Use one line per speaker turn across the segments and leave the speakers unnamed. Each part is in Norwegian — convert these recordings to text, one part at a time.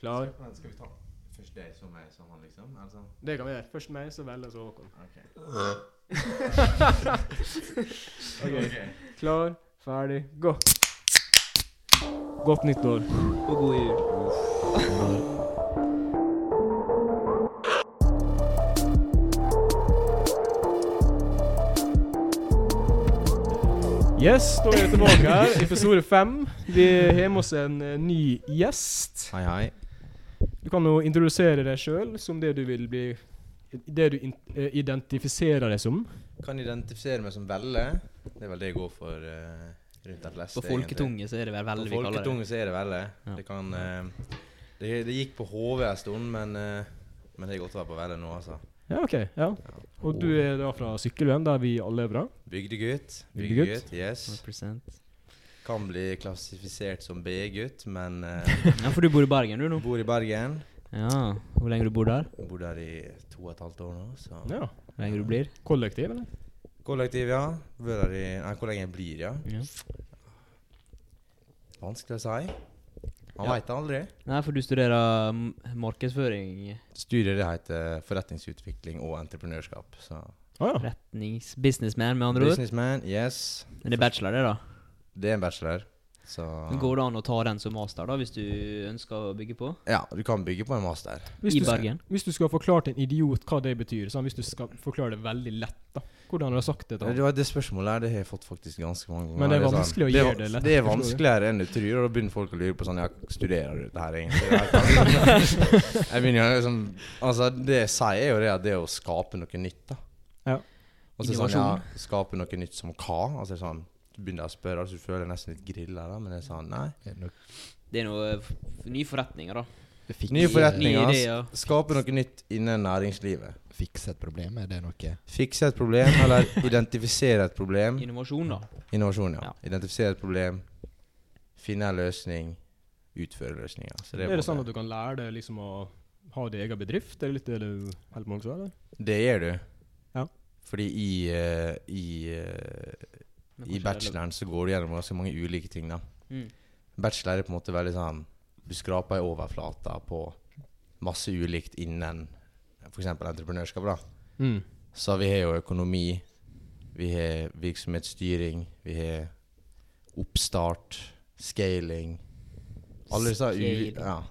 Klar?
Skal, skal vi ta først deg som meg som han, liksom? Er det sånn?
Det kan vi gjøre. Først meg, så velger så Håkon.
Ok.
Ok. Klar, ferdig, gå. Godt nyttår.
Og god jul.
Yes, da er vi tilbake her. Episode fem. Vi har med oss en eh, ny gjest.
Hei, hei.
Du kan jo introdusere deg sjøl som det du vil bli Det du in eh, identifiserer deg som.
Kan identifisere meg som Velle. Det er vel det jeg går for eh, rundt de fleste.
På folketunge så er det vel
egentlig.
veldig vi
På
kaller det.
folketunge så er det Velle.
Ja.
Det kan eh, det, det gikk på HV en stund, men, eh, men det er godt å være på Velle nå, altså.
Ja, OK. ja. Og du er da fra Sykkylven, der vi alle er fra.
Bygdegutt.
Bygdegutt?
Yes.
100%.
Kan bli klassifisert som B-gutt, men eh,
Ja, for du bor i Bergen, du nå?
bor i Bergen.
Ja. Hvor lenge du bor der?
Bor der i to og et halvt år nå, så
Ja.
Hvor lenge du blir?
Kollektiv, eller?
Kollektiv, ja. Bor der i Nei, hvor lenge jeg blir, ja.
Ja.
Vanskelig å si. Man
Ja.
veit det aldri.
Nei, for du studerer m- markedsføring,
Studiet det heter forretningsutvikling og entreprenørskap. Så.
Å Ah,
Ah.
ja.
retnings... Businessman, med andre ord.
Businessman, yes.
Men det er bachelor, det, da.
Det er en bachelor. Så
Men Går det an å ta den som master, da, hvis du ønsker å bygge på?
Ja, du kan bygge på en master.
Hvis
I
du, s-
Bergen.
hvis du skal forklare til en idiot hva det betyr, sånn, hvis du skal forklare det veldig lett, da. Hvordan har du sagt det til
Det,
ham?
var det spørsmålet her det har jeg fått faktisk ganske mange ganger.
Men det er
sånn-
vanskelig å
det er
gjøre
va-
det lett,
Det er
forstår du.
vanskeligere enn du tror, og da begynner folk å lure på sånn Ja, studerer du dette her egentlig? jeg begynner jo liksom Altså, det jeg sier, er jo det at det er å skape noe nytt, da.
Ja.
Og så er det sånn,
Innovasjon.
ja, skape noe nytt som hva? Altså det er sånn Du begynner å spørre, altså du føler deg nesten litt grilla, da, men jeg sa nei.
Det er noe f- nye forretninger, da.
Nye forretninger.
Nye
ass.
ideer.
Skape noe nytt innen næringslivet.
fikse et problem? Er det noe
Fikse et problem, eller identifisere et problem.
Innovasjon, da.
Innovasjon, ja.
Ja.
Identifisere et problem, finne en løsning, utføre løsninger. Så
Er
på en
det sånn at
måte-
du kan lære deg liksom å ha din egen bedrift? Er det litt det du holder på med også? eller?
Det gjør du.
Ja.
Fordi i, eh, i, eh,
Men
i
kanskje det er lov-
bacheloren så går du gjennom ganske mange ulike ting, da.
Mm.
Bachelor er på en måte veldig sånn Du skraper i overflata på masse ulikt innen f.eks. entreprenørskap, da.
Mm.
Så vi har jo økonomi, vi har virksomhetsstyring, vi har oppstart, scaling Alle disse u...
Scaling.
Ja.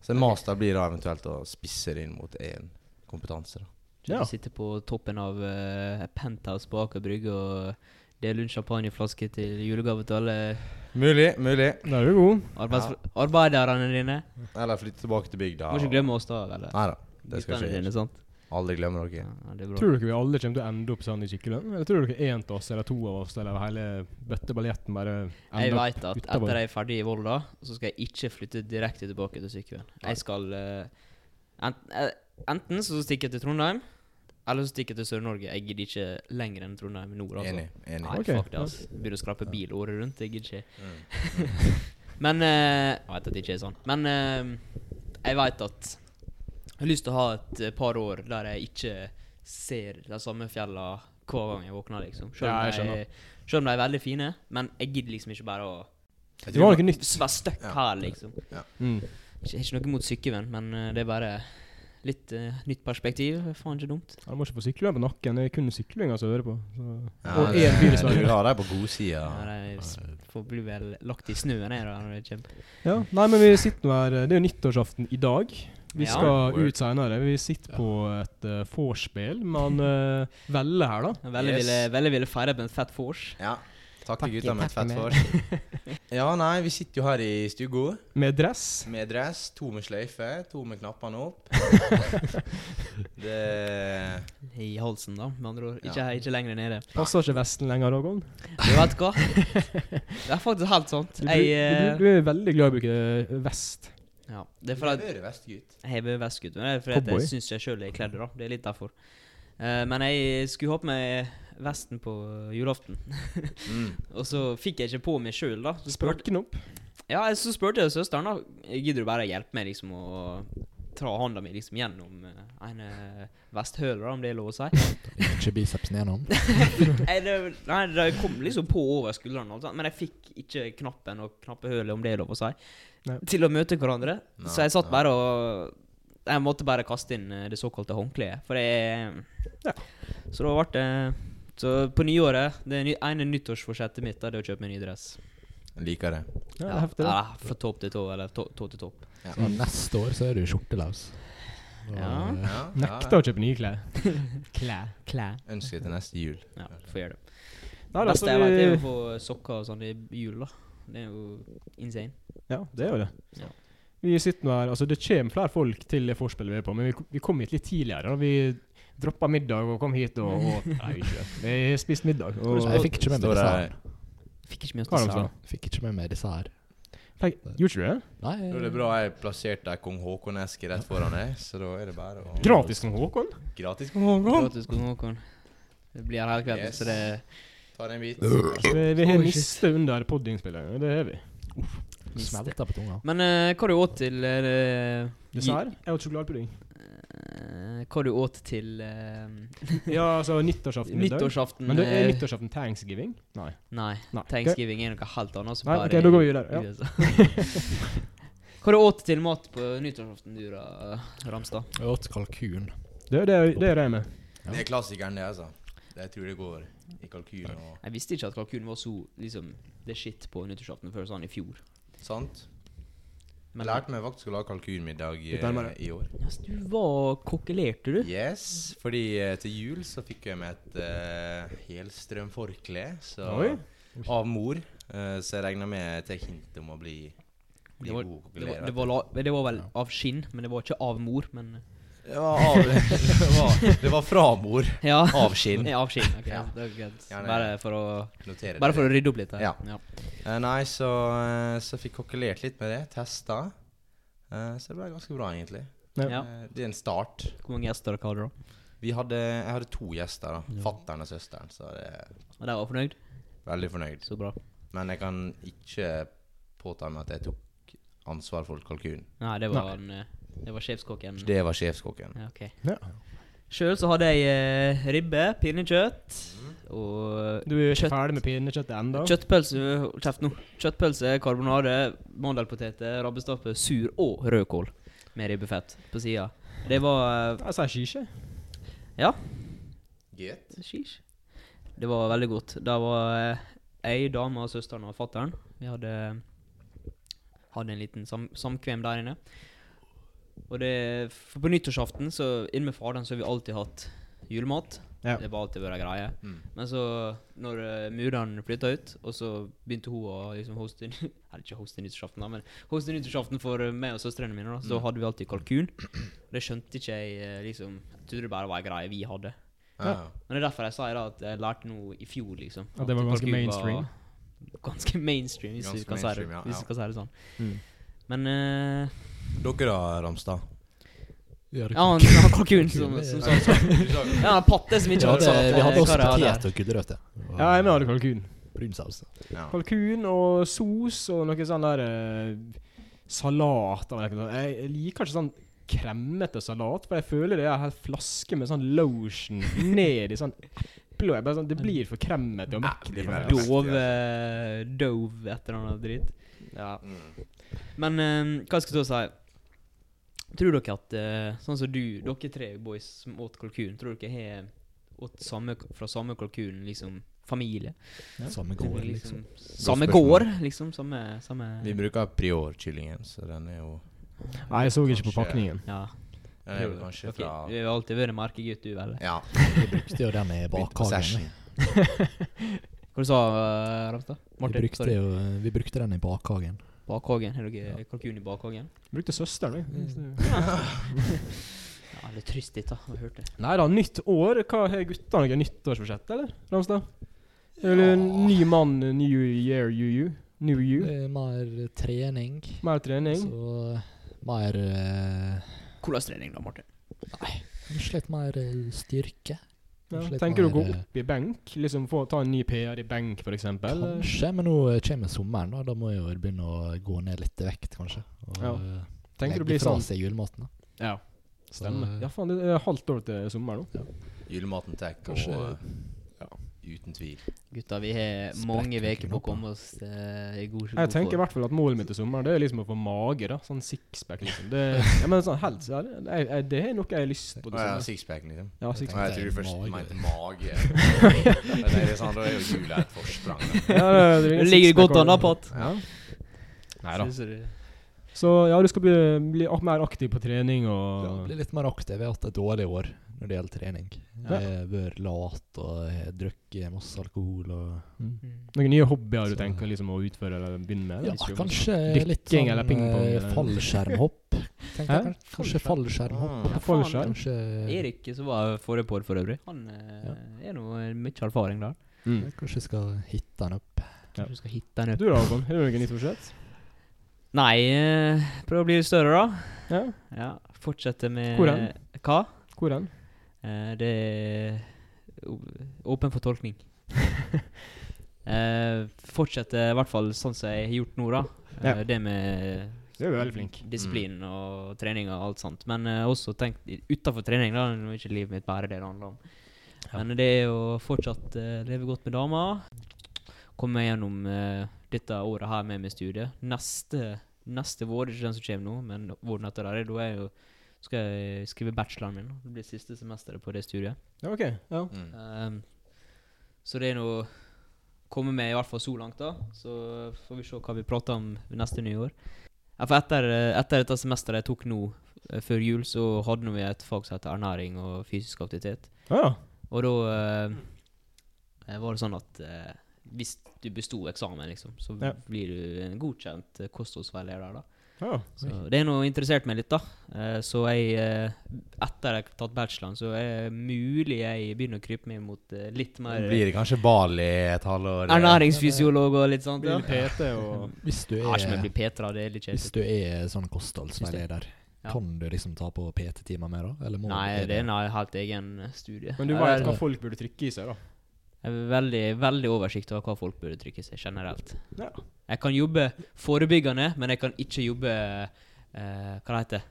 Så en master blir da eventuelt å spisse det inn mot én kompetanse. da.
Ja.
Du sitter på toppen av eh, et penthouse på Aker Brygge og deler ut champagneflasker til julegave til alle
Mulig, mulig.
Da er du god.
arbeids arbeiderne dine.
Eller flytte tilbake til bygda.
Må ikke glemme oss, da. eller?
Nei da, det skal
Guttene
ikke
dine,
gjøres.
sant?
Aldri glemme noe.
Ja, det er bra.
Tror dere vi alle kommer til å ende opp sånn i Sykkylven? Eller tror dere én av oss, eller to av oss, eller hele bøttebaljetten bare
Jeg
ender opp
vet at
utover.
etter jeg er ferdig i Volda, så skal jeg ikke flytte direkte tilbake til sykehjem. Jeg skal eh, ent eh, Enten så stikker jeg til Trondheim, eller så stikker jeg til Sør-Norge. Jeg gidder ikke lenger enn Trondheim nord. altså.
Enig. enig.
Nei,
Ok,
fuck det,
ja.
altså. Begynner å skrape bil året rundt. Jeg gidder ikke. Men eh, Jeg vet at det ikke er sånn. Men eh, jeg vet at jeg har lyst til å ha et eh, par år der jeg ikke ser de samme fjella hver gang jeg våkner, liksom. Selv
Ja,
om,
jeg
de, selv om de er veldig fine, men jeg gidder liksom ikke bare å
Jeg
Det var
tror-
noe nytt.
være stuck
Ja.
her, liksom.
Mm.
Ikke, jeg har ikke noe imot sykevenn, men eh, det er bare litt eh, nytt perspektiv. Faen ikke dumt.
Jeg må ikke få sykkelen på nakken. Det er kun sykling altså, å høre på. Så.
Ja,
Og
det-
én bil i
Du vil
Sverige.
ha dem på godsida.
Ja. de s- får bli vel lagt i snøen her da, når det kommer.
Ja. Nei, men vi sitter nå her eh, Det er jo nyttårsaften i dag. Vi
Ja.
skal ut senere. Vi sitter på et uh, vorspiel med han eh, Velle her, da.
Veldig
Yes.
ville, veldig ville feire med en fett vors.
Ja. Takk til
Takke,
gutta med et
takke
fett
med.
vors. Ja, nei, vi sitter jo her i stua.
Med dress.
Med dress, to med sløyfe, to med knappene opp. det
I halsen, da, med andre ord. Ikke,
Ja.
ikke lenger nede.
Passer ikke vesten lenger, Håkon.
Du vet hva? Det er faktisk helt sant.
Du, du,
Jeg, eh,
du, du er veldig glad i å bruke eh, vest.
ja, det er fordi at
Hører vestgutt.
jeg har vestgutt. men Det er fordi at
Cowboy.
jeg syns jeg sjøl er kledd, da. Det er litt derfor. Eh, men jeg skulle ha på meg vesten på julaften,
Mm.
og så fikk jeg ikke på meg sjøl, da. Så spurte,
Spøken opp.
ja, jeg- så spurte jeg søsteren, da. Gidder du bare hjelpe meg, liksom, å dra handa mi liksom gjennom eh, en eh, vesthøler, da, om det er lov å si.
Ikke bicepsen gjennom.
Nei, det, nei, det kom liksom på over skuldrene, og alt sånt, men jeg fikk ikke knappen og knappehølet, om det er lov å si,
Nei.
til å møte hverandre.
Nei,
så jeg
nei.
satt bare og Jeg måtte bare kaste inn eh, det såkalte håndkleet, for det
Ja.
Så da ble det Så på nyåret Det ny- ene nyttårsforsettet mitt da, det er å kjøpe meg ny dress.
Jeg liker det.
Ja, det er heftig, det.
Ja, ah, fra topp til tå, eller tå, tå til topp.
Så neste år så er du skjortelaus. Og,
Ja.
eh,
Ja,
Nekter å kjøpe nye klær.
Klær. Klær.
ja. Ønsker til neste jul.
Ja, får gjøre det.
Nei, da,
Det beste
så
jeg vet, er jo
vi-
å få sokker og sånn i jul, da. Det er jo insane.
Ja, det er jo det.
Ja.
Vi sitter nå her, altså Det kommer flere folk til det forspillet vi er på, men vi, kom- vi kom hit litt tidligere. da. Vi droppa middag og kom hit og, og Nei, ikke. Vi har spist middag. Og,
Jeg fikk ikke med meg
Står
dessert.
det-
Fikk ikke mye
Hva er
til
det for
seg.
noe?
Fikk ikke med meg dessert.
Fikk- Gjorde ikke du det?
Nei,
Da er det bra jeg plasserte ei kong Haakon-eske rett foran deg, så da er det bare å
Gratis som Håkon?
Gratis kong Haakon!
Gratis god morgen. Det blir her hele kvelden,
Yes.
så det
Ta deg en bit.
Vi, vi har
Oi, shit.
mistet under podinnspillingen. Det har vi.
mister.
smelta på tunga.
Men eh, hva du åt til eh,
Dessert? Jeg har sjokoladepudding.
eh, Hva du åt til eh,
Ja, altså nyttårsaften. middag.
nyttårsaften
Men det er
eh,
nyttårsaften thanksgiving? Nei.
Nei.
Nei.
Thanksgiving er noe helt annet.
Nei, ok, da går vi videre, ja.
Ja. hva du åt til mat på nyttårsaften, du da, Ramstad?
Jeg åt kalkun.
Det, det, det er det med.
Det er klassikeren, det, altså. Det tror jeg det går i kalkylen og
Jeg visste ikke at kalkunen var så liksom, det er shit på nyttårsaften før sånn i fjor.
Sant? Jeg
Men
lærte meg faktisk å lage kalkunmiddag eh,
Litt nærmere.
i år.
Ja, så du var kokkelerte, du.
Yes, fordi eh, til jul så fikk jeg meg et uh, helstrømforkle så,
Oi.
av mor. eh, så jeg regner med jeg tar hint om å bli, bli
Det var,
god
det, var,
kokkelærer.
det, var, la- det var vel av skinn, men det var ikke av mor. Men
Det var av Det var, det var fra mor.
ja.
Av skinn.
Ja, av skinn. ok,
Ja.
det er greit.
Gjerne.
Bare for å
Noterer
Bare
dere.
for å rydde opp litt her.
Ja. Eh, nei, så, eh, så fikk kokkelert litt med det. Testa. Eh, så det ble ganske bra, egentlig.
Ja.
Ja.
Eh, det er en start.
Hvor mange gjester dere hadde da?
Vi hadde, jeg hadde to gjester. da Fatteren og søsteren. Så det er
Og de var fornøyd?
veldig fornøyd.
Så bra.
Men jeg kan ikke påta meg at jeg tok ansvar for kalkunen.
Nei, det var, en, eh, det var sjefskokken.
Det var sjefskokken.
Ja, ok.
Ja.
Sjøl så hadde jeg eh, ribbe, pinnekjøtt
Mm.
og
Du er ikke
Kjøtt.
ferdig med pinnekjøttet ennå?
Kjøttpølse hold Kjeft nå. Kjøttpølse, karbonade, mandelpoteter, rabbestappe, sur og rødkål med ribbefett på sida. Det var eh,
Jeg sier skisje.
Ja,
Get.
sheesh. Det var veldig godt. Det var eh, ei dame og søsteren og fatteren. Vi hadde, hadde en liten sam samkvem der inne. Og det For på nyttårsaften, så inne med faderen, så har vi alltid hatt julemat.
Ja.
Det var alltid vært greie.
Mm.
Men så, når uh, mureren flytta ut, og så begynte hun å liksom hoste ny- Eller ikke hoste nyttårsaften, da, men hoste nyttårsaften for eh, meg og søstrene mine. da Så da hadde vi alltid kalkun. Det skjønte ikke jeg, eh, liksom. Jeg trodde det bare var ei greie vi hadde.
Ja.
Men det er derfor jeg sier da at jeg lærte noe i fjor, liksom.
At det var ganske
kalkun
mainstream.
Ganske mainstream, hvis
Ganske
du kan si det,
mainstream, ja,
hvis
ja.
du kan si det sånn.
Mm.
Men eh,
Dere da, Ramstad?
Gjør
Ja, han han kalkunen som, som
Kalkun, det-
sånn sånn. Ja, han patte som ikke
Ja, det,
satt,
vi
eh,
hadde også
hva det hadde.
potet og altså. gulrøtter. Og
Ja, jeg hadde kalkun.
Brun saus.
Ja.
Kalkun og sos og noe sånn der eh, salat eller noe sånt. Jeg jeg liker ikke sånn kremmete salat, for jeg føler det er en hel flaske med sånn lotion ned i sånn eple. og jeg bare Sånn, det blir for kremmete og
det
mektig.
blir
for meg. altså.
Dove eh, Dove, et eller annet dritt. Ja.
Mm.
Men eh, hva skal jeg så si? Tror dere at eh, sånn som du, dere tre boys som åt kalkun, tror dere har åt samme, fra samme kalkun liksom familie?
Samme
Tror
gård,
dere
liksom.
Samme
spørsmål.
gård, liksom? Samme, samme
Vi bruker prior-kyllingen, så den er jo
Nei, jeg så ikke på
Kanskje-
pakningen.
Ja.
Den er vel kanskje
Dere-
fra
Du har alltid vært merkegutt, du, eller?
Ja.
Brukte jo den i
Begynte på
bakhagen.
session.
Hva du sa eh, du, Ramstad?
Vi brukte, jo, eh, vi brukte den i bakhagen.
Bakhagen. Har dere kalkun i bakhagen?
Brukte søsteren min.
Mm.
Ja, det er trist, dette. Jeg har hørt det.
Nei da, nytt år. Hva Har gutta noe nyttårsbudsjett, eller? Ramstad? Eller ny mann, new year, you, you. New you.
Eh, Mer trening.
Mer trening.
Så mer eh,
Kolestrening, da, Martin.
Kanskje litt mer eh, styrke.
Ja.
Kanskje litt
Tenker du å gå
mer, eh,
opp i benk? Liksom få ta en ny PR i benk, for eksempel? eller?
Kanskje, men nå eh, kommer sommeren, da. Da må jeg jo begynne å gå ned litt i vekt, kanskje. Og
Ja.
eh,
Tenker du å
legge
bli
fra
sånn
seg julematen. da.
Ja. Stemmer.
Så-
Ja, faen, det er halvt år til sommer nå.
Julematen tar og
Kanskje-
ja, uten tvil.
Gutta, vi har
Sprekker
mange uker
ikke
på
nå,
å komme oss eh, i god
Jeg tenker i
form.
hvert fall at målet mitt til sommeren Det er liksom å få mage, da. Sånn sixpack, liksom. Det, ja, men sånn helst, ja, det, jeg- jeg- det er noe jeg har lyst på. til
Å ja,
sommeren.
sixpacken, liksom.
Ja,
Nei,
sixpack.
jeg tror du først
Mage.
mente mage. Men det er sånn, da er jo jula et forsprang. da.
Ja, det- det er
Det ligger
sixpack
godt an, da,
også.
Pat.
Ja. Nei da.
Synes du det?
Så ja, du skal bli, bli ak- mer aktiv på trening
Ja,
og
blir litt mer aktiv. Jeg har hatt et dårlig år når det gjelder trening.
Ja.
Jeg har vært lat og jeg har drukket masse alkohol. Og
Mm.
Noen nye hobbyer du
Så-
tenker liksom å utføre eller begynne med?
ja,
Hvis du-
kanskje litt
Dykking
sånn
eller pingpong
eh,
eller-
fallskjermhopp. Tenkte jeg
Hæ? Ah.
kanskje- Kanskje fallskjermhopp.
Mm.
Ja,
får vi
faen.
skjerm.
Kanskje
Eh. Erik, som var forrige på for øvrig, han eh, er nå eh, mye erfaring der.
Mm.
Kanskje jeg skal hitte den opp.
Ja.
Kanskje du skal hitte den opp.
Du da, Håkon? Har du noe nytt prosjekt?
Nei, eh, prøv å bli litt større, da.
Ja.
Ja, Fortsette med
Hvor hen?
Hva?
Hvor hen?
Eh, det er å- åpen for tolkning. eh, fortsette i hvert fall sånn som jeg har gjort nå, da. Eh,
Ja.
Det med
Du er jo veldig flink.
Mm. disiplin og trening og alt sånt. Men eh, også tenkt utafor trening, da. Nå er ikke livet mitt bare det det handler om. Men det er å fortsatt eh, leve godt med dama. Komme meg gjennom eh, dette året her med meg studiet. Neste, neste vår, ikke den som kommer nå, men våren etter der, da er jeg jo skal jeg skrive bacheloren min. da. Det blir siste semesteret på det studiet.
Ja, OK. Ja.
Mm.
Ehm, så det er nå komme meg i hvert fall så langt, da. Så får vi se hva vi prater om ved neste nyår. Ja, for etter, eh, etter dette semesteret jeg tok nå, eh, før jul, så hadde nå vi et fag som heter ernæring og fysisk aktivitet.
Ja, ja.
Og da eh, var det sånn at eh, hvis du besto eksamen, liksom, så
Ja.
blir du en godkjent eh, kostholdsveileder, da.
ja.
Så det er noe interessert meg litt, da. Eh, Så jeg, eh, etter jeg har tatt bacheloren, så er det mulig jeg begynner å krype meg mot eh, litt
Da
mer
Blir det kanskje Bali et halvår? eh?
ernæringsfysiolog og litt sånt.
Blir
Ja.
litt PT og
Hvis du
Jeg har ikke med å
er,
bli Petra, det er litt kjedelig.
hvis du er sånn kostholdsveileder,
Ja.
kan du liksom ta på PT-timer med, da? Eller må
Nei,
du
det er en helt egen eh, studie.
Men du
Jeg
vet
har-
hva folk burde trykke i seg, da.
jeg har veldig, veldig oversikt over hva folk burde trykke seg generelt.
Ja.
Jeg kan jobbe forebyggende, men jeg kan ikke jobbe eh, Hva det heter det?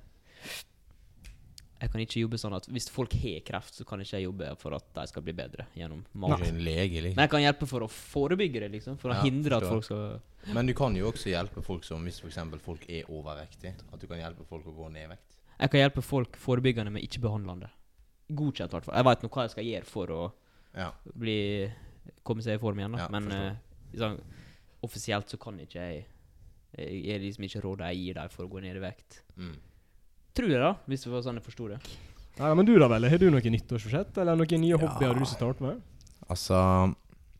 Jeg kan ikke jobbe sånn at hvis folk har kreft, så kan ikke jeg jobbe for at de skal bli bedre gjennom
Du er
mat.
ikke en lege, liksom.
Men jeg kan hjelpe for å forebygge det, liksom. For å
Ja,
hindre at
forstår.
folk skal
Men du kan jo også hjelpe folk som hvis for eksempel folk er overvektige. At du kan hjelpe folk å gå ned i vekt.
Jeg kan hjelpe folk forebyggende, men ikke behandlende. Godkjent, i hvert fall. Jeg veit nå hva jeg skal gjøre for å
Ja.
bli, komme seg i form igjen, da.
Ja,
men
forstår.
eh, liksom, offisielt så kan ikke jeg Jeg er liksom ikke rådet jeg gir dem for å gå ned i vekt.
Mm.
Tror jeg, da. Hvis det var sånn jeg forsto det.
Nei, men du da, vel? Har du noe nyttårsbudsjett, eller noen nye hobbyer
Ja.
du skal starte med?
Altså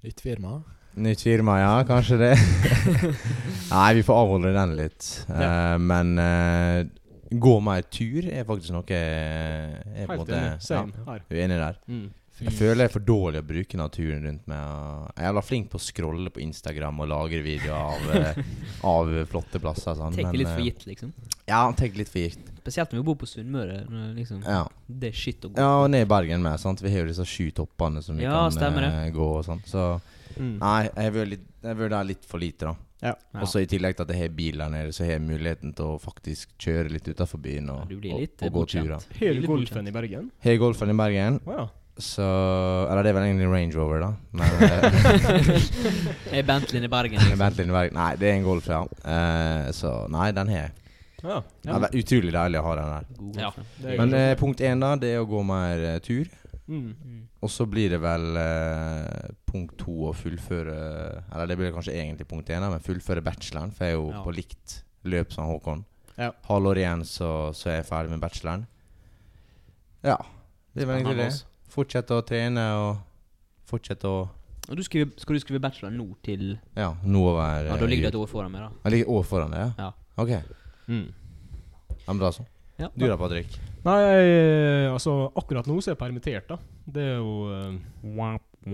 Nytt firma?
Nytt firma, ja. Kanskje det. Nei, vi får avholde den litt. Eh, men eh, gå mer tur er faktisk noe jeg er på en
Helt
måte
enig.
ja,
Same her.
uenig der.
Mm.
Jeg føler jeg er for dårlig å bruke naturen rundt meg. og Jeg er jævla flink på å scrolle på Instagram og lagre videoer av, eh, av flotte plasser. og Sånn.
Tek det litt for
eh,
gitt, liksom.
Ja, tek litt for gitt.
Spesielt når vi bor på Sunnmøre. når Liksom,
Ja.
Det er shit å gå.
ja, og ned i Bergen med. sant? Vi har jo disse sju toppene som vi
Ja,
kan
stemmer det.
eh, gå og sånn. Så
Mm.
nei, jeg har vært litt- jeg har vært der litt for lite, da.
Ja.
Ja.
Og så i tillegg til at jeg har bil der nede, så har jeg muligheten til å faktisk kjøre litt utafor byen og,
du blir
og,
litt eh,
og gå turer.
godkjent.
Har du golfen i Bergen?
Har jeg golfen i Bergen,
Å ja.
så Eller det er vel egentlig Range Rover, da. Men eh,
Er Bentleyen i Bergen? liksom.
Men vent litt, vent. Nei, det er en golf, ja. Eh, så nei, den har jeg.
Ja.
Ja, det er utrolig deilig å ha den der.
God
Ja.
golf, ja.
Det er
Men
kanskje-
eh, punkt én, da, det er å gå mer eh, tur.
mm.
Mm.
Og så blir det vel eh, punkt to å fullføre Eller det blir kanskje egentlig punkt én, da, men fullføre bacheloren. For jeg er jo
Ja.
på likt løp som Håkon.
Ja.
Halvår igjen, så, så er jeg ferdig med bacheloren. Ja. Det er vel egentlig
Spennende,
det.
altså.
Fortsette å trene og fortsette å
Og du skriver, skal du skrive bachelor nå til
Ja, nå over
Ja, Da ligger det et år foran meg, da.
Jeg ligger år foran deg, ja?
Ja.
OK. Ja,
Mm.
men da så.
Ja,
Du da, Patrick?
Nei, jeg, altså akkurat nå så er jeg permittert, da. Det er jo eh,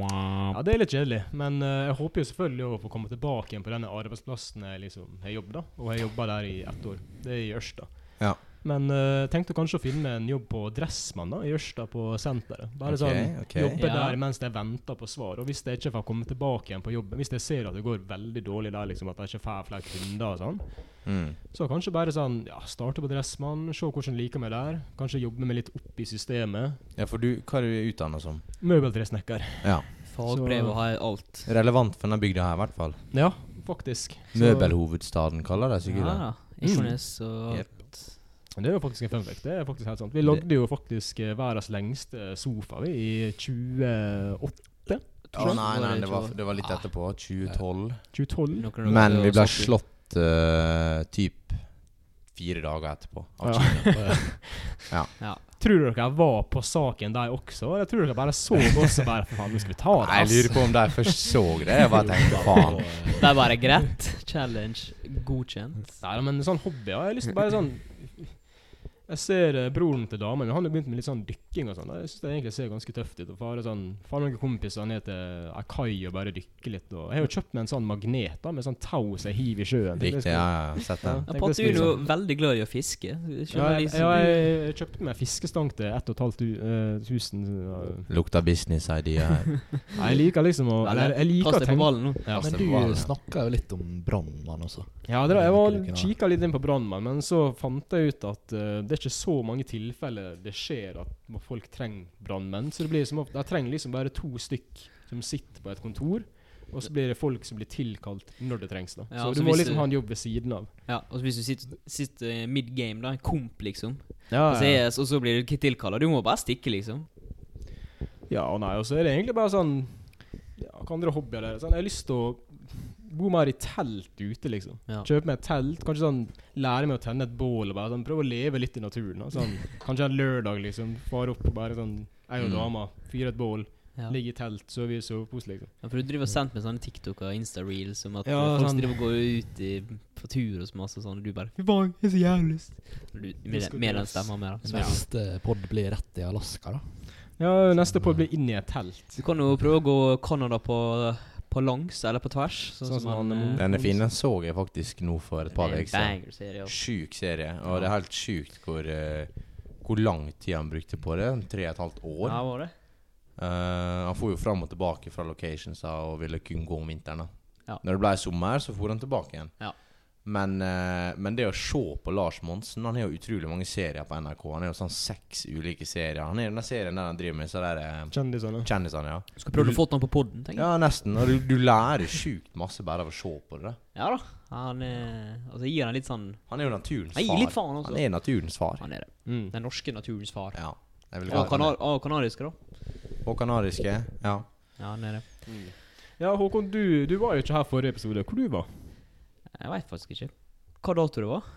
Ja, det er litt kjedelig. Men eh, jeg håper jo selvfølgelig å få komme tilbake igjen på denne arbeidsplassen jeg liksom har jobb, da. Og jeg jobba der i ett år. Det er i Ørsta.
Ja.
Men eh, tenkte kanskje å finne en jobb på Dressmann da, i Ørsta, på senteret. Bare
Ok,
sånn,
ok.
Jobbe
Ja.
der mens jeg venter på svar. Og hvis jeg ikke får komme tilbake igjen på jobben, hvis jeg ser at det går veldig dårlig der, liksom, at jeg ikke får flere kunder og sånn,
Mm.
så kanskje bare sånn, ja, starte på Dressmann, se hvordan jeg liker meg der. Kanskje jobbe meg litt opp i systemet.
Ja, for du, hva er du utdanna som?
Møbeltresnekker.
Ja.
Fagbrev og ha alt.
Relevant for denne bygda her, i hvert fall.
Ja, faktisk. Så-
Møbelhovedstaden kaller de sikkert
Ja
det.
da. Isjones og
Jep.
alt.
Det er jo faktisk en fun fact. Det er faktisk helt sant. Vi lagde jo faktisk eh, verdens lengste sofa vi i 2008.
Å nei, nei, det var, det var litt
Ah.
etterpå. 2012.
2012.
Noen år
Men
og
vi ble
sånt.
slått eh, typ fire dager etterpå.
Ja.
Ja.
Tror dere jeg var på saken der også? Eller tror dere bare så oss og bare For faen, nå skal vi ta det,
Nei, jeg lurer på om de først så det. Jeg bare tenkte faen.
Det er bare greit. Challenge godkjent.
Nei, da, men sånn hobby, ja. Jeg har lyst til bare sånn Jeg ser eh, broren til damen, han har begynt med litt sånn dykking og sånn. da. Jeg syns det egentlig ser ganske tøft ut. Og fare sånn Far noen kompiser ned til ei kai og bare dykke litt. Og jeg har jo kjøpt meg en sånn magnet da, med sånn tau som jeg hiver i sjøen. liksom-
Riktig, ja, ja, sett den.
Tenk
Ja,
det
Patte er
skulle
jo veldig glad i å fiske.
Ja,
Skjønner
jeg,
liksom-
jeg, jeg kjøpte meg fiskestang til eh, 1500.
Lukta business idea her.
Nei, jeg liker liksom å
Veldig.
Eller jeg liker
Kast
å
deg på
tenke
ballen nå.
Ja,
Kaste
Men
på ballen,
du
ja.
snakka jo litt om brannmann også.
Ja, det, da, jeg var,
Liker ikke det.
kikka litt inn på brannmann, men så fant jeg ut at eh, det er ikke så mange tilfeller det skjer at må- folk trenger brannmenn. Så det blir som ofte, jeg trenger liksom bare to stykk som sitter på et kontor, og så blir det folk som blir tilkalt når det trengs. da.
Ja,
så
altså
du må
hvis
liksom
du-
ha en jobb ved siden av.
Ja, og hvis du sitter, sitter mid game, da, en komp, liksom,
Ja,
på CS, og så blir du ikke tilkalla, du må bare stikke, liksom.
Ja, og nei, og så er det egentlig bare sånn ja, Hva andre hobbyer er det? Sånn, jeg har lyst til å bo mer i telt ute, liksom.
Ja.
Kjøpe meg et telt, kanskje sånn lære meg å tenne et bål og bare sånn prøve å leve litt i naturen. da. Sånn, kanskje en lørdag, liksom. Fare opp og bare sånn Jeg og
Mm.
dama fyre et bål,
Ja.
ligge i telt, sove i sovepose, liksom.
Ja, for du driver og sender meg sånne TikTok og Insta-reels om at
Ja,
folk
sånn.
driver og går ut i, på tur og så masse og sånn, og du bare Fy faen, jeg har så jævlig lyst. Du, med, den- med den stemma med, da. altså. Så,
Så
ja.
Neste pod blir rett i Alaska, da.
Ja, neste på blir inn i et telt.
Du kan jo prøve å gå Canada på, på langs, eller på tvers. Sånn,
Sånn som
som
han,
han
eh,
Den er fin. Den så jeg faktisk nå for et par
det er en
uker siden.
banger serie, altså.
Sjuk serie. Og det er helt sjukt hvor, eh, hvor lang tid han brukte på det. Tre og et halvt år.
Ja, var det?
Eh, han for jo fram og tilbake fra locationsa og ville kun gå om vinteren. da.
Ja.
Når det ble sommer, så for han tilbake igjen.
Ja.
Men, eh, men det å se på Lars Monsen Han har jo utrolig mange serier på NRK. Han har jo sånn seks ulike serier. Han er jo den serien der han driver med så der eh,
Kjendisene.
kjendisene, ja.
Skal prøve å få den på poden, tenker jeg.
Ja, nesten. Og du, du lærer sjukt masse bare av å se på det. da.
Ja da. Han er Altså, jeg gir han litt sånn
Han er jo naturens
Han
far.
gir litt faen, altså.
Han er naturens far.
Han er det.
Mm.
Den norske naturens far.
Ja. Jeg vil
Og
kalle han
kanar og kanariske, da.
det. Og kanariske. Ja.
Ja, han er det.
Ja, Håkon, du, du var jo ikke her forrige episode. Hvor du var
Jeg veit faktisk ikke hva dato det var.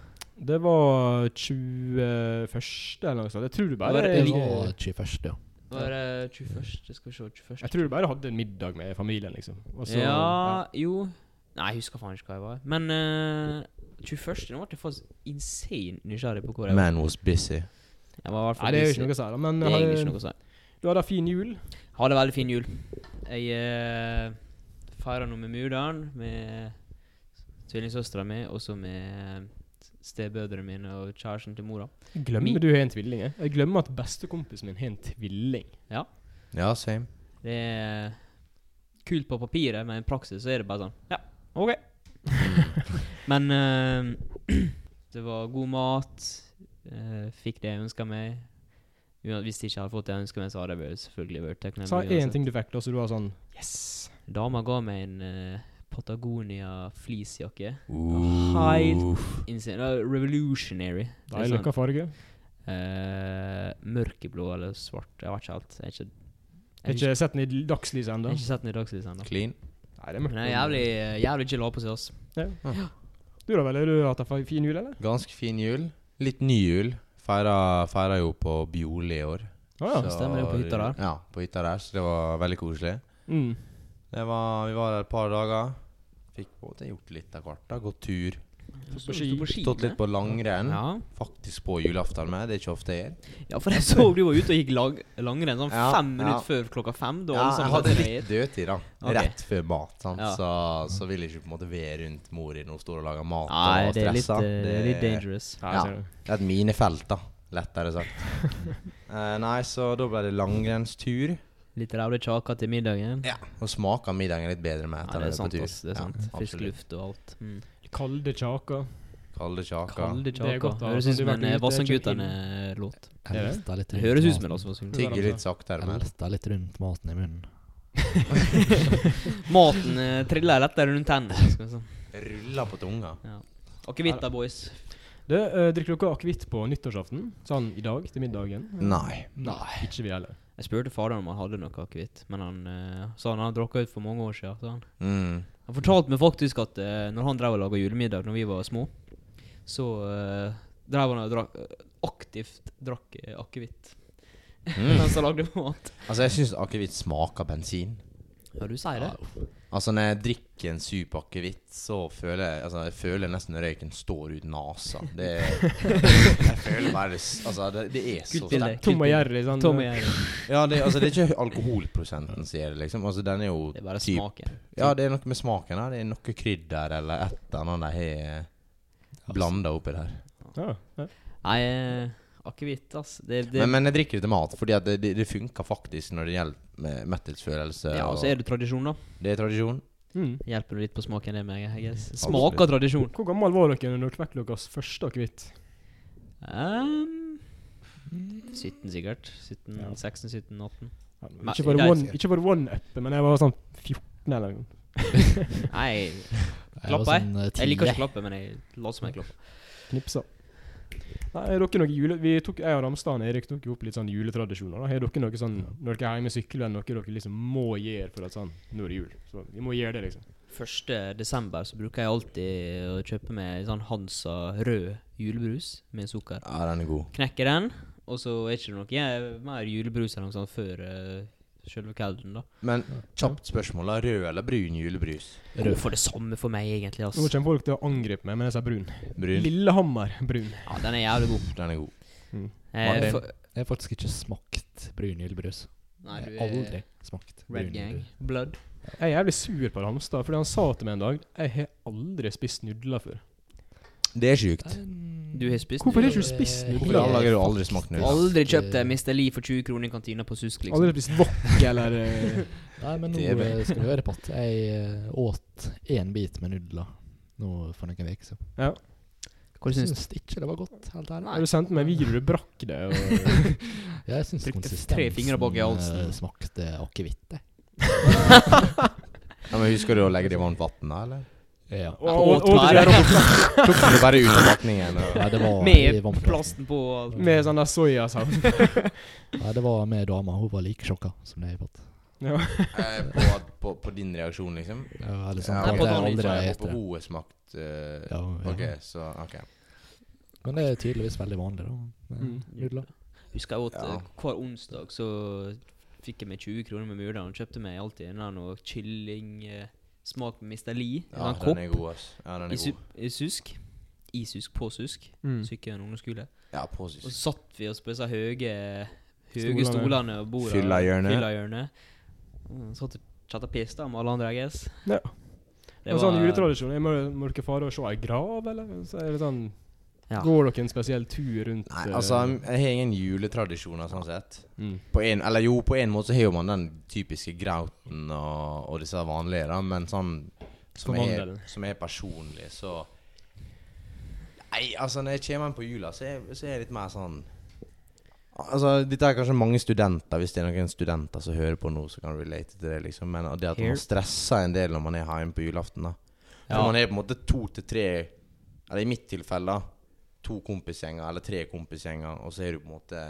Det var 21. eller noe sånt. Jeg tror du bare
Var det-
Det
jeg-
var 21., ja.
Var det 21.? Skal vi se, 21.
Jeg tror du bare hadde en middag med familien, liksom. Og så-
ja, jo Nei, jeg husker faen ikke hva jeg var. Men eh, 21. Nå ble jeg faktisk insane nysgjerrig på hvor jeg var.
Man was busy.
Jeg var i hvert
Nei,
fall
det er jo ikke
busy.
noe å si, da. Men
Det er egentlig ikke
eh,
noe å si.
du hadde en fin jul.
Ha det veldig fin jul. Jeg uh, feira nå med mudder'n, med tvillingsøstera mi, og så med stebødrene mine og kjæresten til mora.
Glemmer du har en tvilling? Jeg Jeg glemmer at bestekompisen min har en tvilling.
Ja, same.
Det er kult på papiret, men i praksis så er det bare sånn Ja, OK.
Mm.
men eh, det var god mat. eh, fikk det jeg ønska meg. Ua- Hvis jeg ikke hadde fått det jeg ønska meg, så hadde jeg vel selvfølgelig vært takknemlig.
Sa én
uansett.
ting du fikk, da, så du var sånn Yes!
Dama ga meg en eh, Patagonia fleecejakke.
Uh.
Insane. Det var Revolutionary. Det er
Deilig hva
sånn,
farge.
eh, mørkeblå eller svart. Jeg vet ikke helt. Jeg, er ikke,
Jeg har
jeg, husker-
ikke sett den i dagslyset
jeg har
ennå.
ikke sett den i dagslyset ennå.
Clean.
Nei, det er
Men
mørkt.
den er jævlig, eh, jævlig chill å ha på seg, ass.
Du da vel, har du hatt en fi- fin jul, eller?
Ganske fin jul. Litt ny jul. Feira, feira jo på Bjole i år.
Å ja.
Så-
stemmer det, på hytta der.
Ja, på hytta der, så det var veldig koselig.
Mm.
Det var, vi var der et par dager. Fikk på en måte gjort litt av hvert. da, Gått tur.
Stått på ski.
Stått litt på langrenn.
Ja.
Faktisk på julaften med. Det er ikke ofte jeg gjør.
ja, for jeg så du var ute og gikk lag, langrenn sånn
Ja,
fem
ja.
minutter før klokka fem. Da
Ja,
alle
jeg
sammen
hadde
satt seg
litt
ned.
dødtid, da.
Ok.
Rett før mat. Sant?
Ja.
Så, så vil jeg ikke på en måte være rundt mor i noe stor og lage mat
Nei,
og
det er litt,
stressa.
eh, det er litt dangerous.
Ja,
Ja.
ser du.
Det er et minefelt, da. Lettere sagt. Eh, nei, så da ble det langrennstur.
Litt rævlig kjaka til middagen.
Og smaker middagen litt bedre med
Ja,
etter
det er
på
sant,
tur.
ass. Det er
Ja,
sant. Frisk
absolutt.
luft og alt. Mm.
Kalde kjaker.
Kalde kjaka.
Kalde
Det er
kjaka.
godt, da.
Høres
Sånn, du
ut som
har
en
vært
eh,
ute,
Vassendgutane-låt.
Jeg
Er det?
velter litt
Det
rundt
høres ut som en
maten.
Vassendgutane.
Digg.
Tigger litt saktere,
Jeg
men
velter litt rundt maten i munnen.
Maten eh, triller lettere rundt hendene. skal vi si.
ruller på tunga.
Akevitt da, boys.
Du, eh, drikker dere akevitt på nyttårsaften? Sånn i dag til middagen?
Nei.
Nei. Ikke vi heller.
Jeg spurte faderen om han hadde noe akevitt, men han eh, sa han hadde drukket ut for mange år siden. Sa han.
Mm.
Han fortalte meg faktisk at eh, når han drev og laga julemiddag når vi var små, så eh, drev han og drakk aktivt drakk eh, akevitt
Mm.
mens han lagde mat.
Altså, jeg syns akevitt smaker bensin.
Ja, du sier det.
Altså Når jeg drikker en sup akevitt, så føler jeg Altså jeg føler nesten røyken står ut nesa. Det er, Jeg føler bare det s- Altså, det, det er så
Kult bilde.
sterkt.
Tom og
Kult
Jerry. Sånn,
Tom
eh,
og jeg.
Ja, det, altså, det er ikke alkoholprosenten som gjør det, liksom. Altså Den er jo
Det er bare
typ-
smaken.
Ja, det er noe med smaken her. Det er noe krydder eller et eller annet de har
Altså-
blanda oppi der.
Ja, ja.
Nei, eh, akevitt, ass. Det, det,
Men, men jeg drikker det til mat, fordi at det, det, det funker faktisk når det gjelder med metthetsfølelse.
ja, altså, og så er det tradisjon, da.
og det er tradisjon.
Mm.
Hjelper litt på smaken, det, meg. jeg guess.
Absolutt.
Smak av tradisjon.
Hvor gammel var dere når dere fikk deres første akevitt?
Ehm, 17, Mm. sikkert. 17, 16, 17, 18. Nei,
Ikke for
jeg-
one- ikke for one-uppe, men jeg var sånn 14 eller noe.
Nei,
Jeg var
Klapper
sånn, eh,
jeg liker
ti.
ikke klappe, men jeg later som jeg klapper.
Knipsa. Nei, er dere noe jule... Vi tok, jeg og Ramstad og Erik tok jo opp litt sånn juletradisjoner. da. Er dere noe sånn, når dere er hjemme og sykler, er det noe dere liksom må gjøre for at sånn, nå er det jul? Så vi må gjøre det, liksom.
1. desember så bruker jeg alltid å kjøpe meg sånn Hansa rød julebrus med sukker.
Ja, den er god.
Knekker den, og så er ikke det noe jeg- mer julebrus eller noe sånt før eh, selve kvelden, da.
Men kjapt spørsmål. da. Rød eller brun julebrus?
Rød for det samme for meg, egentlig.
Nå
ass.
kommer folk til å angripe meg, men jeg sier brun.
Brun.
Lillehammer brun.
Ja, den er jævlig god.
Den er god.
Eh,
Martin?
for,
Jeg har faktisk ikke smakt brunjulebrus.
nei,
Jeg
du
har
er
aldri smakt
Red Gang.
brunjulebrus.
Blood.
Jeg er jævlig sur på Ramstad, fordi han sa til meg en dag Jeg har aldri spist nudler før.
Det er sjukt.
Du har spist
Hvorfor har
den,
ikke du
du?
spist
Eh,
Hvorfor i
nudler?
alle dager har du aldri smakt nudler?
Aldri kjøpt eh, Mr. Lee for 20 kroner i kantina på Susk, liksom.
Aldri spist wok eller eh,
Nei, men nå
Det er bra.
eh, skal du høre på at jeg eh, åt én bit med nudler nå for noen uker siden.
Hva
Jeg
syns du?
syns ikke det var godt, helt ærlig.
Du sendte meg en video du brakk det, og
Ja, jeg syns
Trykte tre fingre
konsistensen
bak i halsen.
eh, smakte akevitt. jeg.
Ja, men Husker du å legge det i varmt vann, da? eller?
Ja.
og,
åt
og, og, og,
meg.
Tok du det bare under vatningen?
Nei, det var i
Med
vannplassen.
plasten på og alt.
med sånn der soyasaus.
Nei, det var med dama. Hun var like sjokka som det jeg fått.
Ja.
På, på, på din reaksjon, liksom?
Ja, eller sånn.
Ja,
Nei,
Ja,
ok.
på
det er
Donald
aldri
Så jeg håper
jeg etter det.
hun har smakt eh,
Ja, ja.
OK, så OK.
Men det er tydeligvis veldig vanlig, da.
Mm.
Nudler.
Husker jeg åt
Ja.
eh, hver onsdag, så fikk jeg meg 20 kroner med Murdalen. og Kjøpte meg alltid en eller annen kylling eh, smak med Mr. Lee.
Ja,
en
den
kopp
er god, ass. Ja, den
i,
er
su
god.
i susk. I susk, på susk.
Mm.
Sykehjem og ungdomsskole.
Ja,
Og så
påsyst.
satt vi oss på disse høye,
Stolene.
høye stolene og borda.
Fyllahjørnet.
Fyllahjørnet. Mm, Satt og chatta piss da med alle andre, I guess.
Ja.
Det
en
var-
sånn juletradisjon. Jeg må, må dere fare og se ei grav, eller? Så er det sånn,
Ja.
Går dere en spesiell tur rundt
Nei,
eh,
altså, jeg har ingen juletradisjoner, sånn sett.
mm.
På en, eller jo, på en måte så har jo man den typiske grauten og, og disse vanlige, da, men sånn som er,
Mandelen.
som er personlig, så Nei, altså, når jeg kommer inn på jula, så er, så er jeg litt mer sånn Altså, Dette er kanskje mange studenter, hvis det er noen studenter som hører på nå, som kan relate til det, liksom, men det at
Here.
man stresser en del når man er hjemme på julaften, da. For
Ja.
man er på en måte to til tre Eller i mitt tilfelle, da. To kompisgjenger eller tre kompisgjenger, og så er du på en måte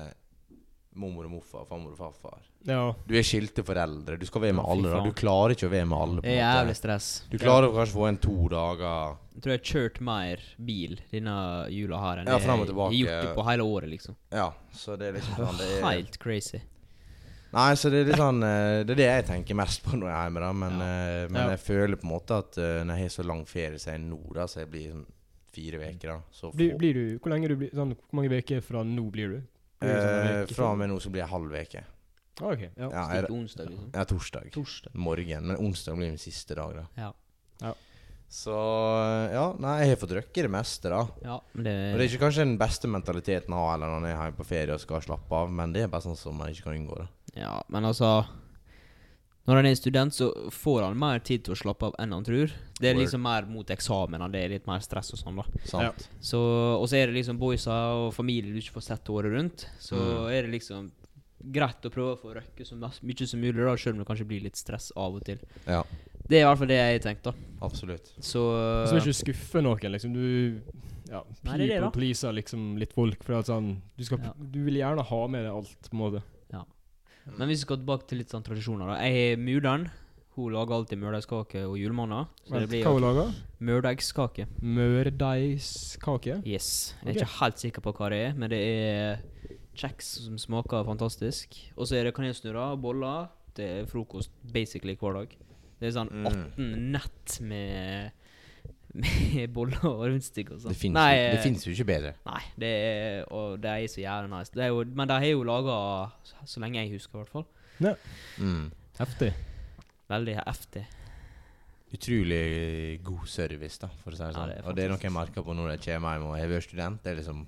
mormor og morfar, farmor og farfar.
Ja.
Du er skilte foreldre. Du skal være med
Ja, fy
alle. da
faen.
Du klarer ikke å være med alle. på
Det er
en
jævlig
måte.
stress.
Du klarer kanskje å få en to dager
Jeg tror jeg har kjørt mer bil denne jula her enn
Ja,
jeg
frem og
jeg
tilbake.
har gjort det på hele året, liksom.
Ja, så det er liksom sånn det er,
Helt crazy.
Nei, så det er litt sånn eh, Det er det jeg tenker mest på når jeg er hjemme, da. Men, eh, men
Ja.
jeg føler på en måte at eh, når jeg har så lang ferie som jeg er nå, da, så jeg blir sånn fire uker. da så
Blir,
få-
blir du, hvor lenge du blir sånn, Hvor mange uker fra nå blir du? Blir du sånn en
eh,
uke
Fra og med nå så blir jeg halv uke.
Ah, ok, ja.
Ja,
Stilt
jeg,
onsdag, liksom.
ja, torsdag.
Torsdag.
Morgen. Men onsdag blir min siste dag, da.
Ja.
Så ja, nei, jeg har fått røkke det meste, da.
ja men det,
Og det er ikke kanskje den beste mentaliteten å ha eller når man er hjemme på ferie og skal slappe av, men det er bare sånn som man ikke kan unngå det.
Ja, men altså Når han er student, så får han mer tid til å slappe av enn han tror. Det er
Word.
liksom mer mot eksamen, det er litt mer stress og sånn, da.
Sant?
Så, og så er det liksom boysa og familie du ikke får sett året rundt. Så
Mm.
er det liksom greit å prøve å få røkke så mas- mye som mulig, da, selv om det kanskje blir litt stress av og til.
Ja.
Det er i hvert fall det jeg har tenkt, da.
absolutt.
Så
Så må ikke du skuffe noen, liksom. Du ja,
Nei,
people
det er det, da.
pleaser liksom litt folk. For at sånn, du, skal,
Ja.
du vil gjerne ha med deg alt, på en måte.
Men hvis vi skal tilbake til litt sånn tradisjoner, da. Jeg har mudder'n. Hun lager alltid mørdeigskake og julemanner. Så det
Vent,
blir
hva hun lager?
mørdeigskake.
Mørdeigskake?
Yes. Jeg er
Ok.
ikke helt sikker på hva det er, men det er kjeks som smaker fantastisk. Og så er det kanelsnurrer, boller. Det er frokost basically hver dag. Det er sånn
Mm.
18 nett med, med boller og rundstykker og sånn.
Det fins
Nei,
jo, det
eh,
finnes jo ikke bedre.
Nei, det er, og det er så jævlig nice. Det er jo, men de har jo laga så lenge jeg husker, i hvert fall.
Mm.
Heftig.
Veldig heftig.
Utrolig god service, da, for å si det
Ja,
sånn.
det er
og det er noe jeg merker på når jeg kommer hjem og jeg har vært student. Det er liksom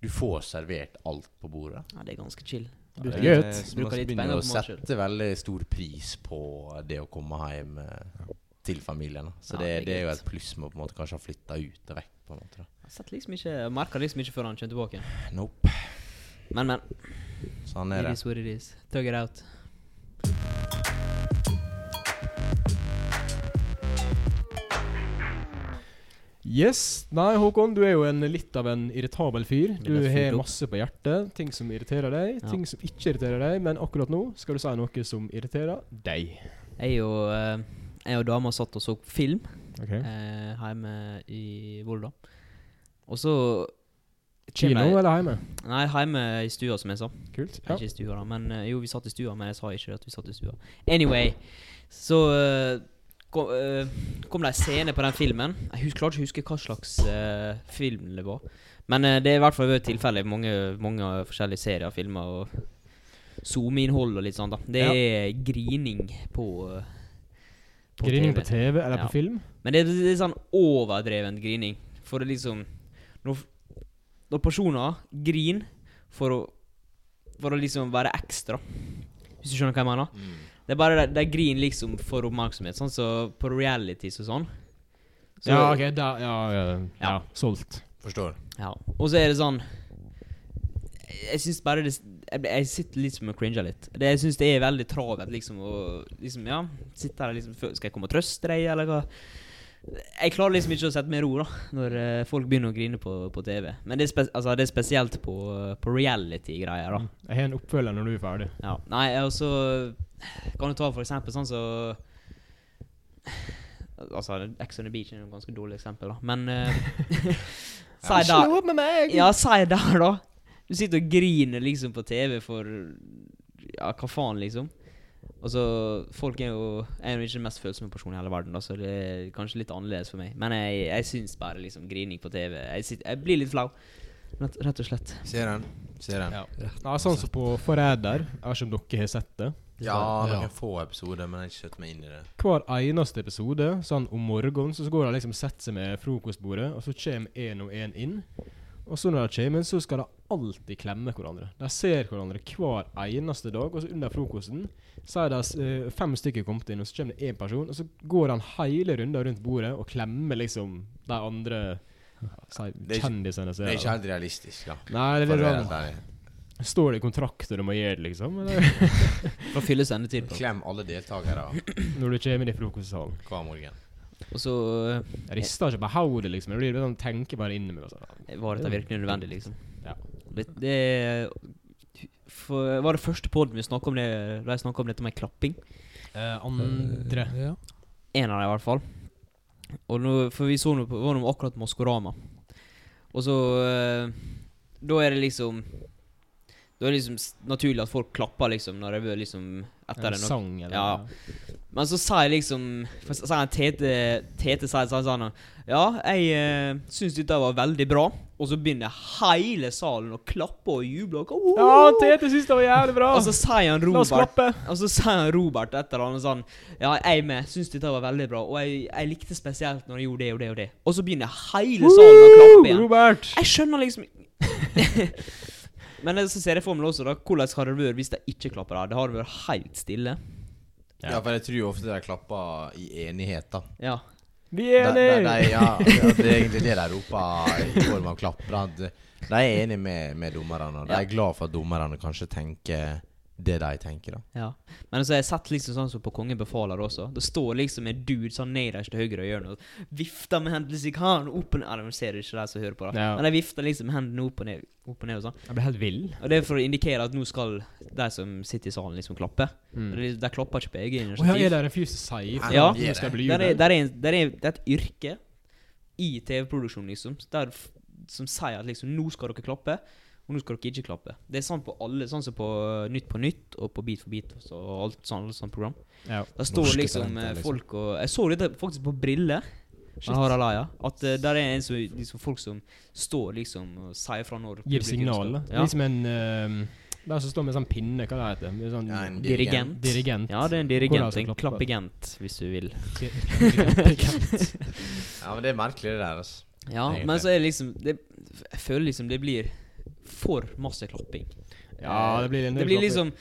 Du får servert alt på bordet.
Ja, det er ganske chill.
Det
Eh,
er gøy.
så
Bruker
man
litt
begynner
penger
å
på mat selv.
sette veldig stor pris på det å komme hjem eh, til familien. da. Så
Ja,
det,
det er
det er jo
greit.
et pluss med å på en måte kanskje ha flytta ut og vekk. på en måte da.
Jeg setter liksom ikke, jeg merker liksom ikke før han kommer tilbake. igjen.
Nope.
Men, men.
Sånn
It
er det.
is what it is. Tug it out.
Yes. Nei, Håkon, du er jo en, litt av en irritabel fyr. Du
ble fyrt
har
opp.
masse på hjertet. Ting som irriterer deg,
Ja.
ting som ikke irriterer deg. Men akkurat nå skal du si noe som irriterer deg.
Jeg og, eh, jeg og dama satt og så film
Okay.
eh, hjemme i Volda. Og så
Kino
kommer jeg-
eller hjemme?
Nei, hjemme i stua, som jeg sa.
Kult. Ja.
Ikke i stua, da. Men eh, jo, vi satt i stua, men jeg sa ikke at vi satt i stua. Anyway, så eh, kom, eh, kom det en scene på den filmen. Jeg hus klarer ikke å huske hva slags eh, film det var. Men eh, det er i hvert fall et tilfelle i mange, mange forskjellige serier, filmer og SoMe-innhold og litt sånt. da. Det
Ja.
er grining på, eh,
Grining
TV.
på TV eller
Ja.
på film?
Men det, det er sånn overdreven grining. For det liksom Når, når personer griner for å For å liksom være ekstra. Hvis du skjønner hva jeg mener? Det er bare De, de griner liksom for oppmerksomhet, sånn som på realities og sånn. Så-
ja, ok. Da, ja, ja, ja. ja.
Ja.
Solgt.
Forstår.
ja. Og så er det sånn Jeg syns bare det jeg, jeg sitter liksom og cringer litt. Det, jeg syns det er veldig travelt, liksom. Og liksom, ja Sitte her og liksom fø- Skal jeg komme og trøste deg, eller hva? Jeg klarer liksom ikke å sette meg i ro da når eh, folk begynner å grine på, på TV. Men det er, spes altså, det er spesielt på, på reality-greier, da.
Jeg har en oppfølger når du er ferdig.
Ja. Nei, og så kan du ta for eksempel sånn så Altså, Ex on the Beach er jo et ganske dårlig eksempel, da. Men eh, Si da
med meg!
ja, si der, da. Du sitter og griner liksom på TV for Ja, hva faen, liksom. Og så Folk er jo Jeg er jo ikke den mest følsomme personen i hele verden, da, så det er kanskje litt annerledes for meg. Men jeg, jeg syns bare liksom grining på TV Jeg, sitter, jeg blir litt flau. Rett, rett og slett.
Ser den. Ser den.
Ja.
Nei, sånn som på Forræder. Jeg vet ikke om dere har sett det.
Ja,
Ja.
noen få episoder, men jeg har ikke sett meg inn i det.
Hver eneste episode, sånn om morgenen, så går de liksom sette seg med frokostbordet, og så kommer én og én inn. Og så når de kommer inn, så skal de alltid klemme hverandre. De ser hverandre hver eneste dag, og så under frokosten så er det eh, fem stykker kommet inn, og så kommer det én person, og så går han hele runden rundt bordet og klemmer liksom de andre ja, si,
Det er ikke-
kjendisene. som
Det er
der, da.
ikke helt realistisk, da.
Nei, det
for å
er
være
litt
helt
sånn
ærlig.
Står det i kontrakter om å gjøre det, liksom? Eller?
For å fylle sendetid på.
Klem alle deltakere
Når du kommer inn i frokostsalen.
hver morgen.
Og så
Jeg rister ikke på hodet, liksom. Jeg blir sånn, tenker bare inni meg. og sånn.
eh, var dette virkelig nødvendig, liksom.
Ja.
Det, det for, Var det første podden vi snakket om det da jeg snakket om dette med klapping?
Eh,
Eh, Mm,
andre.
eh, Ja.
En av dem, i hvert fall. Og nå, for vi så nå på- var nå akkurat Maskorama. Og så eh, Da er det liksom Da er det liksom s- naturlig at folk klapper liksom når det er liksom etter det. nok.
sang eller
Ja. Men så sier liksom for så sier han Tete Tete sier sier sånn Ja, jeg eh, syns dette var veldig bra. Og så begynner hele salen å klappe og juble. Og, «Wow!»
Ja, Tete syns det var jævlig bra!
og så sier han
La oss
Robert
klappe!
Og så sier han Robert etter han og sånn Ja, jeg med syns dette var veldig bra, og jeg, jeg likte spesielt når jeg gjorde det og det og det. Og så begynner hele salen å
Woo!
klappe igjen.
Robert!
Jeg skjønner liksom Men så ser jeg for meg også da hvordan har det vært hvis de ikke klapper? da? Det har vært helt stille.
Ja, for jeg tror jo ofte de klapper i enighet, da.
Ja.
Vi
De,
er
de, de,
enige!
ja, ja, det er egentlig det de roper i form av klapp. da. De de er enige med, med dommerne, og de
Ja.
er glad for at dommerne kanskje tenker det de tenker, da.
ja. Men så har jeg sett liksom sånn som på Kongen befaler også. Det står liksom en dude sånn nederst til høyre og gjør noe. Vifter med hendene slik han opp og ned. Ja, de ser ikke de som hører på, da.
Ja.
Men de vifter liksom hendene opp og ned, opp og ned og sånn.
Jeg ble helt vill.
Og det er for å indikere at nå skal de som sitter i salen, liksom klappe. De, de klapper ikke på eget
Mm. Å ja, er
initiativ.
det refuse to say? for
Ja.
nå skal jeg bli
der er,
jubel?
der er, en, der er, det er et yrke i TV-produksjon, liksom, der, f- som sier at liksom nå skal dere klappe, og nå skal dere ikke klappe. Det er sånn på alle, sånn som på eh, Nytt på Nytt og på Beat for beat og så- og alt sånn, alle sånne program.
Ja.
Der står
Norske
liksom
talenter,
eh,
liksom.
folk og Jeg så dette faktisk på Brille.
Shit.
Man har Alaya. At eh, der er en som, liksom, folk som står liksom og sier fra når
Gir
publikum
signal. da.
skal-
Det er Liksom en ehm, Der som står med sånn pinne, hva det heter det? Sånn
Ja, en
Dirigent.
dirigent.
Ja, det er
Hvordan
en dirigent.
skal
En
klappe?
klappegent, hvis du vil.
Dirigent.
Ja, men det er merkelig, det der. Altså.
Ja,
Egentlig.
men så er det liksom det, Jeg føler liksom det blir for masse klapping.
Ja, det blir sånn- en del
Det blir
klapping.
liksom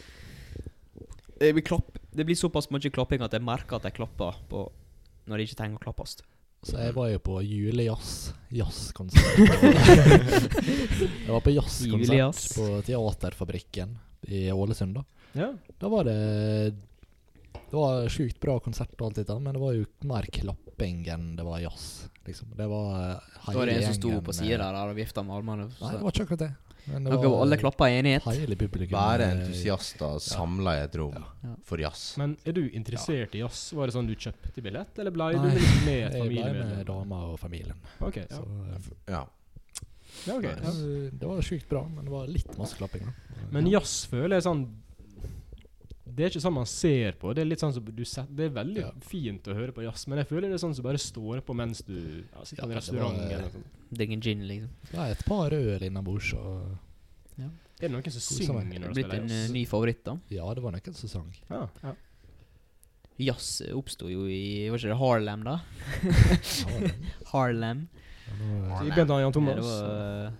Det blir, klapp, det blir såpass mye klapping at jeg merker at jeg klapper på når jeg ikke trenger å klappes.
Så
Mhm.
jeg var jo på julejazz. Jazzkonsert. jeg var på jazzkonsert
Julejazz.
på Teaterfabrikken i Ålesund, da.
ja.
Da var det Det var sjukt bra konsert og alt dette, men det var jo mer klapping enn det var jazz. Liksom. Det var hele
Da var det en som sto
gjengen,
på siden
eh,
der og vifta med armene.
Nei, det var ikke akkurat det. Men det
Dere var alle klappa i enighet.
hele publikum.
Bare
eh,
entusiaster samla i et rom
Ja.
for jazz.
Men er du interessert i jazz? Var det sånn du kjøpte billett, eller ble du
Nei,
liksom med et
Jeg ble med
familiemedlem?
dama og familien.
Ok, ja.
Så, eh,
Ja.
ja, ok,
ja,
ja.
det var sjukt bra, men det var litt masse klapping. da.
Men jazz føler jeg sånn Det er ikke sånn man ser på. Det er litt sånn som du set, Det er veldig
Ja.
fint å høre på jazz, men jeg føler det er sånn som bare står på mens du ja, sitter på
Ja,
en
det
restaurant.
var-
eller noe sånt.
Digg en gin, liksom.
Det var et par øl innabords, og
Er det noen som
Koser
synger
meg.
Det
når
er
du
blitt
spiller
en eh,
jazz?
ny favoritt, da.
ja, det var nok en sesong.
Ja, ja.
Jazz oppsto jo i var ikke det Harlem, da.
Ja, det var det.
Harlem.
Men nå-
Så vi begynte han Jan
Ja, det
Thomas.
var, eh,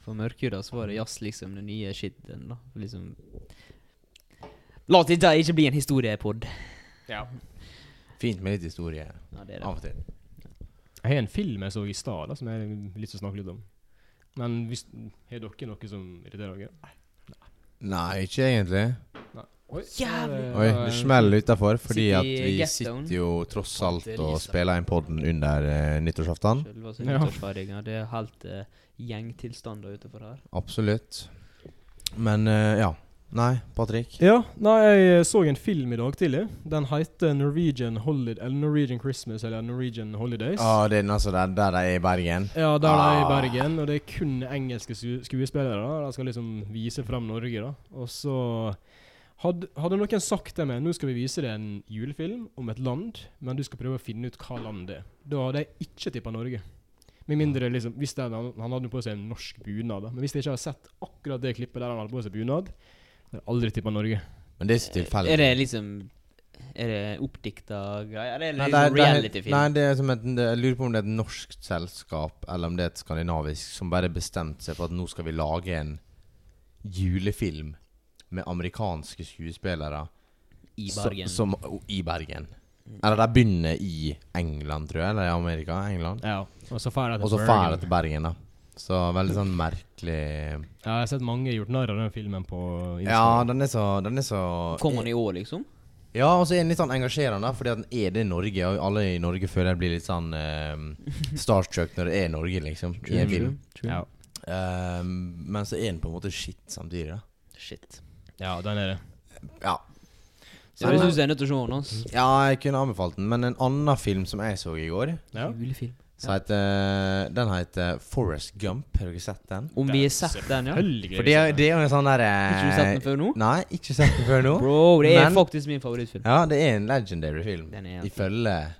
for mørkhuda så var det jazz liksom den nye shiten. da Liksom La det ikke bli en historiepod.
Ja.
Fint med litt historie
Ja, det er
av
det.
og til.
Jeg har en film jeg så i stad, da, som jeg har lyst til å snakke litt om. Men hvis, har dere noe som irriterer dere?
Nei, ikke egentlig.
Nei. Oi,
Jævlig.
Oi, det smeller utafor, fordi
Sitter
at
i
vi
ghettoen.
sitter jo tross alt og
Patterisa.
spiller inn podden under eh, nyttårsaften.
Sjølve oss
Ja.
nyttårsfeiringa. Det er helt eh, gjengtilstander utenfor her.
Absolutt. Men eh, ja. Nei, Patrick.
Ja, nei, jeg så en film i dag tidlig. Den heter Norwegian, Holiday, eller Norwegian Christmas eller Norwegian Holidays.
Ja, det er den altså der, der de er i Bergen.
Ja, der er jeg i
Ah.
Bergen, og det er kun engelske sku skuespillere. da. De skal liksom vise frem Norge, da. Og så hadde, hadde noen sagt det med Nå skal vi vise deg en julefilm om et land, men du skal prøve å finne ut hva land det er. Da hadde jeg ikke tippa Norge. Med mindre liksom hvis det, han, han hadde på seg en norsk bunad, da. Men hvis jeg ikke hadde sett akkurat det klippet der han hadde på seg bunad, hadde jeg aldri tippa Norge.
Men det er ikke tilfeldig.
Er det liksom Er det oppdikta greier? Er det
Nei,
liksom
det er- det er-
reality-film?
Nei, det er som et, det, jeg lurer på om det er et norsk selskap eller om det er et skandinavisk som bare bestemte seg for at nå skal vi lage en julefilm med amerikanske skuespillere
I
som-
Bergen.
Som, o- I Bergen. Eller de begynner i England, tror jeg. Eller i Amerika. England.
Ja, og så drar jeg
Og så drar de til Bergen, da. Så veldig sånn merkelig
Ja, jeg har sett mange gjort narr av den filmen på
Ja,
Instagram.
den er så, den er så
Kom han i år, liksom?
Ja, og så er den litt sånn engasjerende, da, fordi at den er det i Norge. Og alle i Norge føler jeg blir litt sånn eh, starstruck når det er Norge, liksom. I en film.
Ja,
Eh, men så er den på en måte shit samtidig, da.
Shit.
ja, den er det.
Ja.
Ja, Mm. det syns jeg er nødt til å se han, ass.
ja, jeg kunne anbefalt den. Men en annen film som jeg så i går,
Ja.
Julefilm.
Så heter, den heter Forest Gump. Har dere sett den?
Om vi har sett den, ja? Har
Selvfølgelig.
For det er, det er jo en sånn derre
ikke du sett den før nå?
Nei, ikke sett den før nå.
Bro, det er
Men-
faktisk min favorittfilm.
Ja, det er en legendary film.
Den er
Ifølge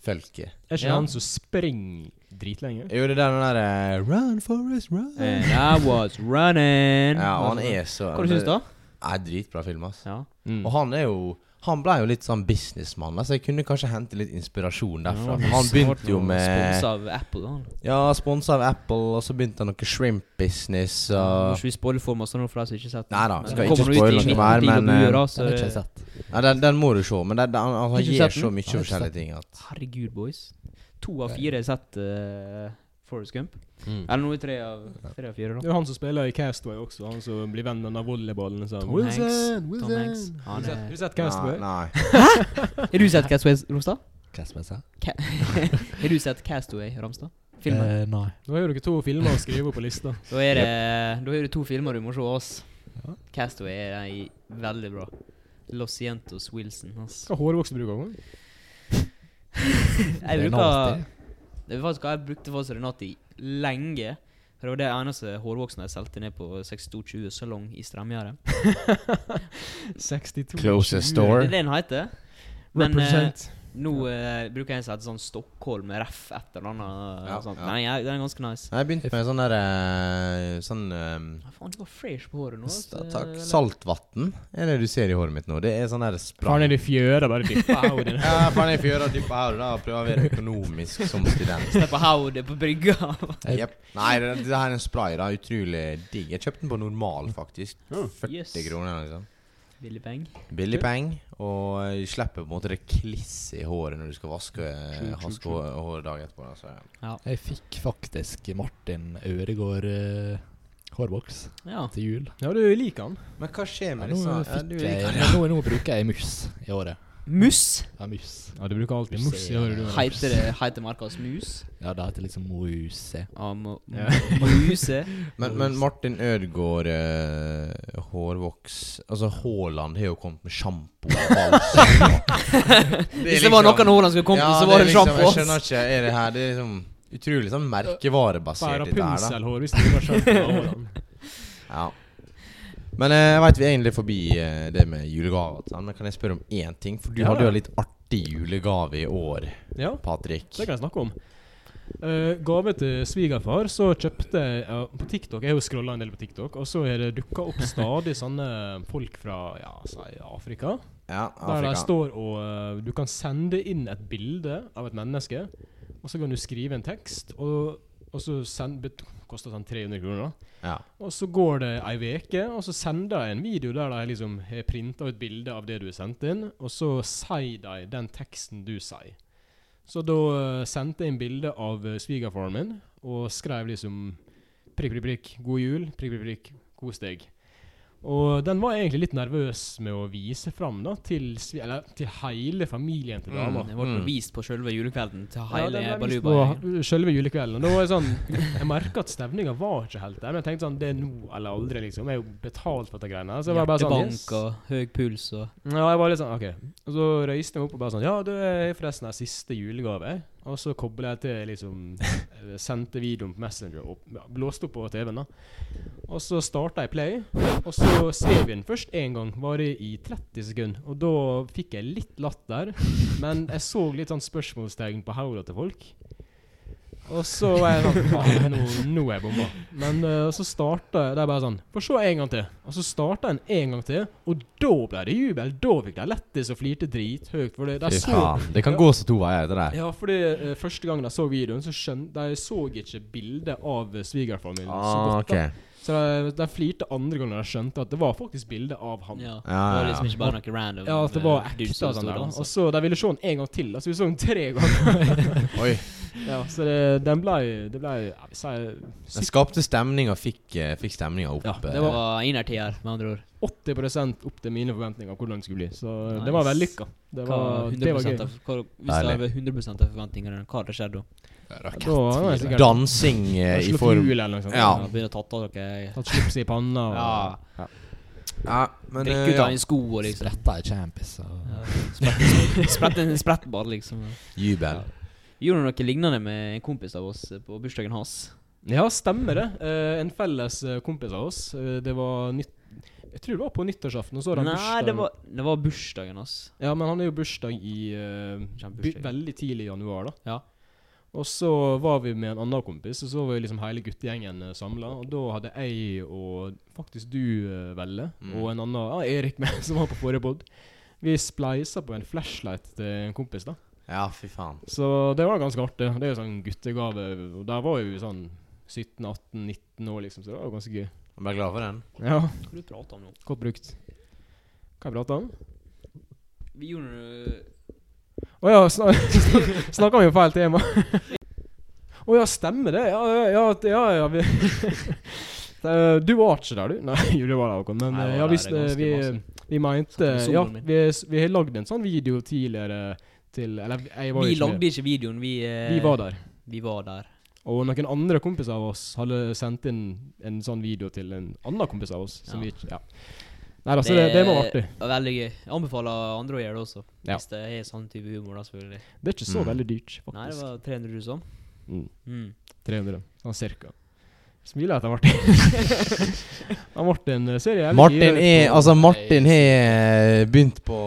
folket.
Er ikke
Ja.
han som springer dritlenge?
Jo, det er den derre Run, Forest, run.
And I was running. Altså,
Ja, og han er så
Hva du syns du, da?
Nei, Dritbra film, ass.
Ja.
Mm.
Og han er jo Han ble jo litt sånn businessmann, da, så jeg kunne kanskje hente litt inspirasjon derfra.
Ja,
Men han begynte jo med
Sponsa av Apple, da.
Ja, sponsa av Apple, og så begynte han noe shrimp-business
Må
og
ikke vi spoile for masse nå for de som ikke har sett den.
Neida,
Men
skal
den
ikke
kommer ut i
spoile noe
19
mer,
digre
men,
buer,
eh,
da,
Den
så-
har ikke jeg sett.
Nei, den, den må du se, men den, den, han,
Har
han
ikke
gjør
sett den?
så mye
Har ikke sett
forskjellige
den.
ting at
Herregud, boys. To av fire har sett eh, Forrest Gump.
Mm.
Eller nå er tre av, tre av fire,
Det
da.
er jo han som spiller i Castaway også, han som blir venn med den der volleyballen. og sånn,
Tom
Wilson,
Hanks. Tom
Wilson.
Hanks.
Har
Han
du sett- har
er
du sett Castaway?
Nei, nei.
Har du sett Castaway, Ramstad?
Hva skal jeg si?
Ca- Har du sett Castaway, Ramstad? Filmen?
Eh, nei.
Nå har jo dere to filmer å skrive på lista.
Da er det Da er det to filmer du må se av oss.
Ja.
Castaway er ei- veldig bra. Los Cientos Wilson. ass.
Hva hårvoks bruker han?
Jeg
Det er
bruker
nasty.
Det var faktisk hva jeg brukte for Renati lenge. For det var det eneste hårvoksen jeg solgte ned på 6220 Salong i Strømgjerde.
62 20.
Closest
Det
store.
er det den heter. Men eh,
Represent.
nå eh, bruker jeg en som heter sånn Stockholm Ref et eller annet.
Ja,
og sånt.
ja.
Nei, jeg, den er ganske nice.
Nei, Jeg begynte med sånn derre Sånn eh,
Ja, faen, du var fresh på håret nå.
s-
ass.
Takk.
Eh,
Saltvann er det du ser i håret mitt nå. Det er sånn der sprang.
Faen er det fjøra bare dyppa hodet ned.
Ja, faen, jeg får gjøre dyppe her da og prøve å være økonomisk som student.
Se på hodet på brygga.
Jeg-
Jep. Nei, det, det her er en spray. da Utrolig digg. Jeg kjøpte den på normal, faktisk. 40
Yes.
kroner. liksom
Billig penger.
Billig peng, og eh, du slipper på en måte det klisset i håret når du skal vaske eh,
True, true,
Vaske
true.
hå- håret dagen etterpå. da, så, ja.
Jeg fikk faktisk Martin Øregård eh, hårboks
Ja.
til jul.
Ja, du liker han.
Men hva skjer
Ja,
med
nå,
disse ja,
fikk
du,
jeg,
liker det.
nå, nå bruker jeg mus i året.
Mus.
Ja, mus.
Ja, du bruker alltid mos i øret, du.
Ja.
Heiter
eh,
det heiter merka hans Mus?
Ja, det heter liksom muse.
Ja, mo-
Ja.
mo- Muse.
Men, men Martin Ødegaard eh, hårvoks Altså, Haaland har jo kommet med sjampo. og balsam.
Hvis det var noen av hårene som skulle komme,
liksom- Ja,
så var det
er liksom-
sjampo.
Jeg skjønner ikke. Er det her Det er liksom utrolig sånn merkevarebasert,
Bare
det der, da.
punselhår hvis du ikke har skjønt det.
Ja. Men eh, jeg veit vi er egentlig forbi eh, det med julegaver. og sånn, Men kan jeg spørre om én ting? For du
Ja.
hadde jo en litt artig julegave i år,
Ja,
Patrick.
det kan jeg snakke om. Eh, gave til svigerfar, så kjøpte jeg ja, På TikTok, jeg har jo scrolla en del på TikTok, og så har det dukka opp stadig sånne folk fra ja, si Afrika.
Ja,
Der de
Afrika.
står og eh, Du kan sende inn et bilde av et menneske, og så kan du skrive en tekst, og, og så send, bet, koster sånn 300 kroner. da.
Ja.
Og så går det ei veke, og så sender de en video der de liksom har printa ut bilde av det du har sendt inn, og så sier de den teksten du sier. Så da eh, sendte jeg inn bilde av eh, svigerfaren min, og skrev liksom prikk, prikk, prikk, god jul, prikk, prikk, prikk, kos deg. Og den var jeg egentlig litt nervøs med å vise fram da, til, svi- eller, til hele familien til dama.
Det ble
Mm.
vist på selve julekvelden til
Ja,
hele
den ble vist
Baluba.
på Selve julekvelden. Og da var jeg sånn Jeg merka at stemninga var ikke helt der. Men jeg tenkte sånn Det er nå eller aldri, liksom. Jeg er jo betalt for dette greiene. her, Så jeg var bare sånn yes.
Hjertebank og høy puls og
Ja, jeg var litt sånn OK. Og så røyste jeg meg opp og bare sånn Ja, du er forresten her siste julegave. Og så kobla jeg til liksom eh, Sendte videoen på Messenger og ja, blåste opp på TV-en, da. Og så starta jeg Play, og så skrev jeg den først én gang. Varer i 30 sekunder. Og da fikk jeg litt latter, men jeg så litt sånn spørsmålstegn på hodet til folk. Og så var jeg sånn Faen, nå, nå er jeg bomba. Men eh, så starta jeg Det er bare sånn Få se en gang til. Og så starta en en gang til, og da ble det jubel. Da fikk de lættis og flirte drithøyt. For det, de
Fy
så
faen. Det kan gå så to veier, det der.
ja, fordi eh, første gangen jeg så videoen, så skjønte de så ikke bildet av eh, svigerfamilien så
Ah,
godt.
ok.
da.
Ja,
Så de, de flirte andre gangen de skjønte at det var faktisk bilde av han. Ja.
ja. Det
ja,
var
ja.
liksom ikke bare noe random.
at det var
eh,
ekte.
dudes som
og sånn
stod
der, da.
og danset.
Og så De ville se den en gang til. Altså, vi så den tre ganger.
Oi.
ja, så det, den blei Det blei ja, Vi sier
Den skapte stemning og fikk, eh, fikk stemninga opp.
Ja,
eh,
Det var innertier, med andre ord.
80 opp til mine forventninger av hvordan det skulle bli. Så eh,
Nice.
det var vellykka. Det
Hva
var, det var gøy.
100% av, hva, hvis det
Deilig.
var 100 av forventningene, hva hadde skjedd da?
Da var jeg sikkert
Dansing eh, i
slått hjul
form
eller noe sånt.
Ja.
Ja, Begynne å tatt av dere
Tatt slipset i panna. Og,
Ja.
Ja, men
Drikke
eh,
ut av en sko og liksom
Spretta i champis. Og
Ja, Sprette sprette en sprettball, liksom.
Jubel.
Vi gjorde noe lignende med en kompis av oss eh, på bursdagen hans.
Ja, stemmer det. Eh, en felles eh, kompis av oss. eh, det var nytt... Jeg tror det var på nyttårsaften. Og så hadde han
Nei,
bursdag.
det var, det var bursdagen hans.
Ja, men han er jo bursdag i eh,
Kjempe
by-
bursdag.
Veldig tidlig i januar, da.
Ja.
Og så var vi med en annen kompis, og så var jo liksom hele guttegjengen samla. Og da hadde jeg og faktisk du, eh, Velle,
Mm.
og en annen ja, Erik med, som var på forrige pod. Vi spleisa på en flashlight til en kompis, da.
Ja, fy faen.
Så det var ganske artig. Det er jo sånn guttegave. Og der var jo vi sånn 17-18-19 år, liksom, så det var jo ganske gøy.
Jeg ble glad for den.
Ja,
Hva du prater om nå?
godt brukt. Hva har jeg prata om?
Vi gjorde
Å ja, snak, snakker vi om feil tema? Å ja, stemmer det? Ja, ja, ja, at- ja, ja vi Eh, Du var ikke der, du? Nei, jo, det var der, Håkon. Men
Nei,
eh,
jeg var
ja,
der
hvis,
ganske
eh, vi,
masse.
vi mente
Satt med
Ja,
solen min.
vi, s- vi har lagd en sånn video tidligere til Eller jeg var jo
Vi
ikke med.
lagde ikke videoen, vi eh,
Vi var der.
Vi var der.
Og noen andre kompiser av oss hadde sendt inn en sånn video til en annen kompis av oss. Som
Ja.
vi ikke Ja. Nei da, så Altså, det, det var artig.
var Veldig gøy. Jeg anbefaler andre å gjøre det også.
Ja.
Hvis det er sånn type humor, da, selvfølgelig.
Det er ikke så
Mm.
veldig dyrt,
Nei, det
faktisk.
var 300 000 sånn.
Mm.
Mm.
300, sånn cirka. Smiler etter Martin. Han Martin eh, ser jævlig
Martin
gira ut
er
på-
Altså, Martin har eh, begynt på,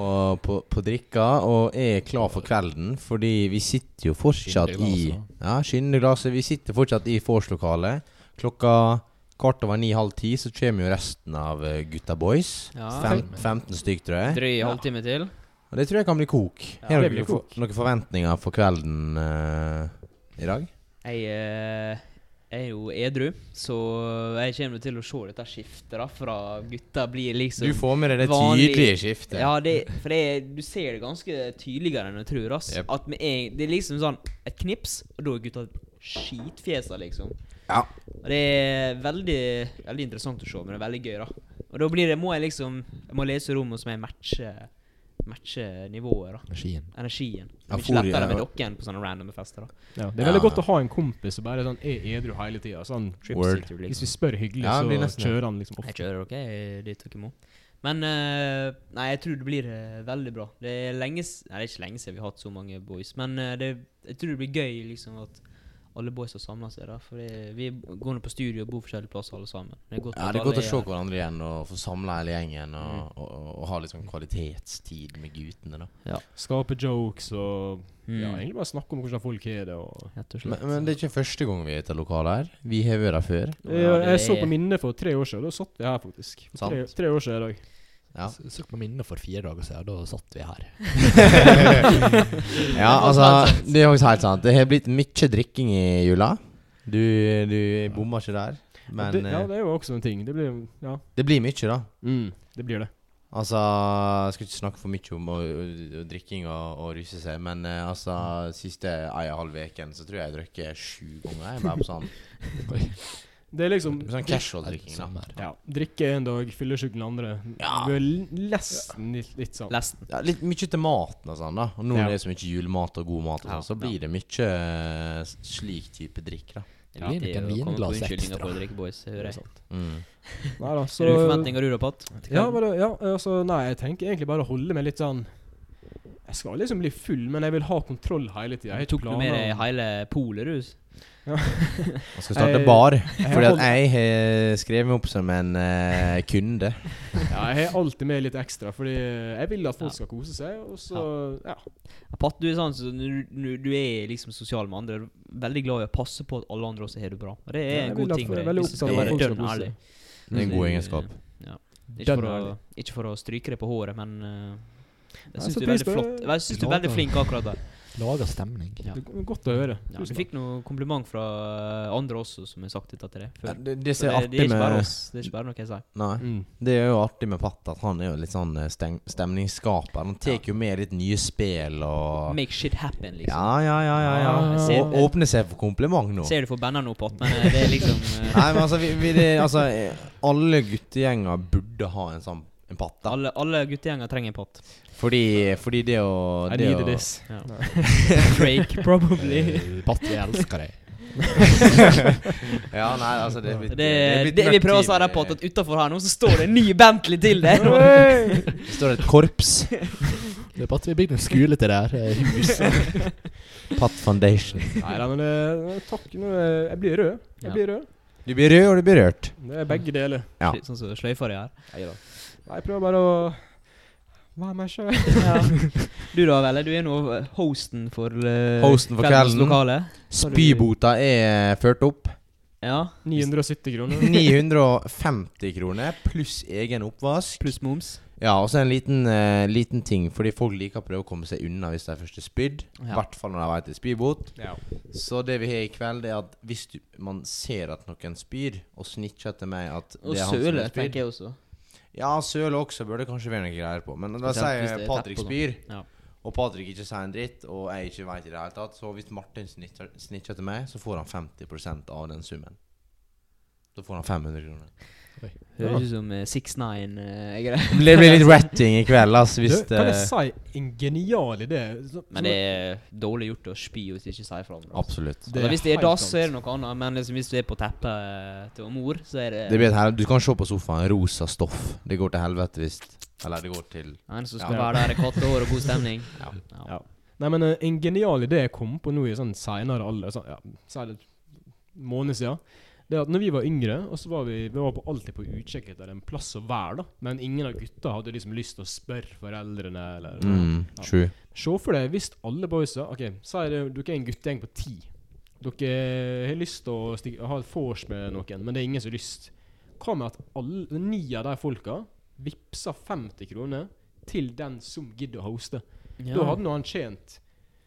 på, på drikka og er klar for kvelden, fordi vi sitter jo fortsatt i
Skyndeglasset.
Ja, skyndeglasset. Vi sitter fortsatt i vors-lokalet. Klokka kvart over ni-halv ti så kommer jo resten av eh, gutta boys.
Ja.
Fem, 15 stykk, tror jeg.
Drøy halvtime til.
Og det tror jeg kan bli kok. Har
det
dere
blir
for, noen forventninger for kvelden eh, i dag?
Jeg eh, er jo edru, så jeg kommer til å se dette skiftet da, fra gutta blir liksom
Du får med deg det
vanlig-
tydelige skiftet.
Ja, det, for det, er- du ser det ganske tydeligere enn jeg tror. ass.
Jep.
At med en, Det er liksom sånn et knips, og da er gutta skitfjesa, liksom.
Ja.
Og det er veldig, veldig interessant å se, men det er veldig gøy, da. Og da blir det, må jeg liksom Jeg må lese rommet som jeg matcher matcher nivået, da.
Skien.
Energien. Det
Ja,
er mye lettere
forrige-
med dokken på sånne random fester. da.
Ja, det er veldig
Ja.
godt å ha en kompis som bare sånn, er edru hele tida. Sånn,
Word.
Tripsitter,
hvis vi spør hyggelig,
Ja, det blir
så
nesten det.
kjører han liksom ofte.
Jeg kjører ok dit dere må. Men eh, Nei, jeg tror det blir eh, veldig bra. Det er lenge s- Nei, det er ikke lenge siden vi har hatt så mange boys. Men eh, det, jeg tror det blir gøy liksom at alle boys har samla seg. da For det, Vi går nå på studio og bor forskjellige plasser alle sammen. Det er godt,
Ja,
at
det er godt
alle
å se
her.
hverandre igjen og få samla hele gjengen og, og, og, og ha litt sånn kvalitetstid med guttene. da
Skape jokes og
Mm.
ja, Egentlig bare snakke om hvordan folk har det. Og,
Rett og
Men,
slett.
men det er ikke første gang vi er ute av lokalet her. Vi har vært her før.
Ja,
jeg,
det
jeg så
er-
på minnet for tre år siden. Da satt vi her, faktisk. For Tre,
Sant.
tre år siden i dag.
Ja,
S- Søk på minnet for fire dager siden, da satt vi her.
ja altså Det er faktisk helt sant. Det har blitt mye drikking i jula. Du, du bommer ikke der.
Og
Men
det, ja,
eh,
det er jo også en ting. Det blir Ja.
det blir mye, da.
Mm, det blir det.
Altså, jeg skal ikke snakke for mye om å, å, å drikking og, og ruse seg, men eh, altså, siste ei og en halv uken så tror jeg jeg drukket sju ganger. Jeg bare på sånn,
Det er liksom
sånn casual drikking, da.
Sommer.
ja, Drikke en dag, fyllesyk den andre.
Ja.
Du er l- nesten litt, litt sånn.
Lesten.
Ja, litt mye til maten og sånn, da. Og nå
Ja.
når det er så mye julemat og god mat, og
Ja,
sånn, så blir det mye eh, slik type drikk, da.
Det
Ja,
er viktig
det er
å
jo
komme på
vinglass
unnskyldninger
ekstra.
for å drikke boys. Hører
Mm.
jeg.
sånn. Nei da, så
Har du forventninger, du da, Pat?
Ja, bare, ja, altså, nei, jeg tenker egentlig bare å holde meg litt sånn Jeg skal liksom bli full, men jeg vil ha kontroll hele tida.
Du tok du med deg hele polet, du?
Man skal starte
Jeg-
bar,
jeg
fordi at
holder-
Eh, jeg har skrevet meg opp som en eh, kunde.
Ja, jeg har alltid med litt ekstra, fordi jeg vil at folk skal kose seg, og så Ja.
Ja, Pat, du er sånn som når du, når du er liksom sosial med andre. Veldig glad i å passe på at alle andre også har det bra. Og det er
Ja, jeg
en
vil
god
at-
ting.
jeg
med
er
det,
veldig
hvis du skal
opptatt av at
være
folk skal
dønn
kose
ærlig.
seg.
Det er en god
Mm.
egenskap.
Ja. Ikke,
Dønn
for å,
ærlig.
ikke for å stryke det på håret, men eh,
Jeg
jeg syns
setter
du er
pris
veldig
på
flott.
det.
Jeg syns du er
Glad
veldig
for-
flink akkurat der.
Lager stemning.
Ja.
Det er Godt å høre.
Ja, du
Tusen
fikk noe kompliment fra eh, andre også, som har sagt dette til deg
Ja,
før.
det, det
Så
som er
det, det, er
artig
ikke bare
med
oss, det er ikke bare noe jeg sier.
Nei.
takk. Mm.
Det er jo artig med Patt at han er jo litt sånn eh, steng stemningsskaper. Han tar jo med litt nye spill og
Make shit happen, liksom.
Ja, ja, ja. ja, ja.
Ja, jeg
ser
Og
det.
åpner seg for kompliment nå.
Ser du for bandet nå, Pat, men eh, det er liksom eh,
Nei, men altså, vi, vi, det, altså eh, Alle guttegjenger burde ha en sånn en patt. da
alle, alle guttegjenger trenger en pott.
Fordi, fordi det å
I
det
needed
å-
this.
Ja.
Nei.
Drake, probably.
Eh,
Patt, vi Eh, elsker deg.
Ja, nei, altså Det, er blitt-
Det,
er
det,
blitt
vi prøver å
mørkt
si
i-
der, Pat, at utenfor her nå så står det en ny Bentley til deg.
Det står et korps.
Det er bare at vi bygde en skole til det her. eh, Hus.
Pat foundation.
Nei da, men det, takk. Nå, eh, jeg blir rød. Jeg
Ja.
blir rød.
Du blir rød, og du blir rørt.
Det er begge deler.
Ja.
Sånn som sløyfer jeg her.
Nei, jeg prøver bare å være meg sjøl.
Du da, Velle? Du er nå hosten for eh,
Hosten for
kveldens
kvelden.
lokale.
Spybota er ført opp.
Ja.
970 kroner.
950 kroner pluss egen oppvask.
Pluss moms.
Ja, og så en liten, eh, liten ting, fordi folk liker å prøve å komme seg unna hvis de først er spydd. I
Ja.
hvert fall når de vet det er spybot.
Ja.
Så det vi har i kveld, det er at hvis du, man ser at noen spyr, og snitcher til meg at
Og
det er han som
søle,
er spydd
tenker jeg også.
Ja, søle også burde kanskje være noen greier på, men da
Spesielt hvis
sier
det er
Patrick
teppe og
spyr,
Ja.
og Patrick ikke sier en dritt, og jeg ikke vet i det hele tatt, så hvis Martin snitcher, snitcher til meg, så får han 50 av den summen. Da får han 500 kroner.
Ja.
Høres ut som eh, 6ix9ine eh, greier.
Det blir litt ratting i kveld, altså.
Du, kan jeg si en genial idé? Så-
eh, Men det er dårlig gjort å spy hvis du ikke sier fra om det.
Absolutt.
Det
Altså, hvis det er
helt
dass, så
sant.
er det noe annet. Men liksom, hvis du er på teppet eh, til mor, så er det,
Det blir et helvete. Du kan se på sofaen. Rosa stoff. Det går til helvete hvis Eller det går til
en som skal
Ja.
være der i katte år og god stemning.
Ja.
Ja. Nei, men eh, en genial idé jeg kom på nå i sånn senere alder, sånn, ja, særlig en måned siden, det er at når vi var yngre, og så var vi, vi var på, alltid på utkikk etter en plass å være, da. Men ingen av gutta hadde liksom lyst til å spørre foreldrene, eller
mm, True.
Se for deg hvis alle boysa Ok, si det, dere er en guttegjeng på ti. Dere har lyst til å stig- ha et vors med noen, men det er ingen som har lyst. Hva med at alle ni av de folka vippser 50 kroner til den som gidder å hoste? Da hadde nå han tjent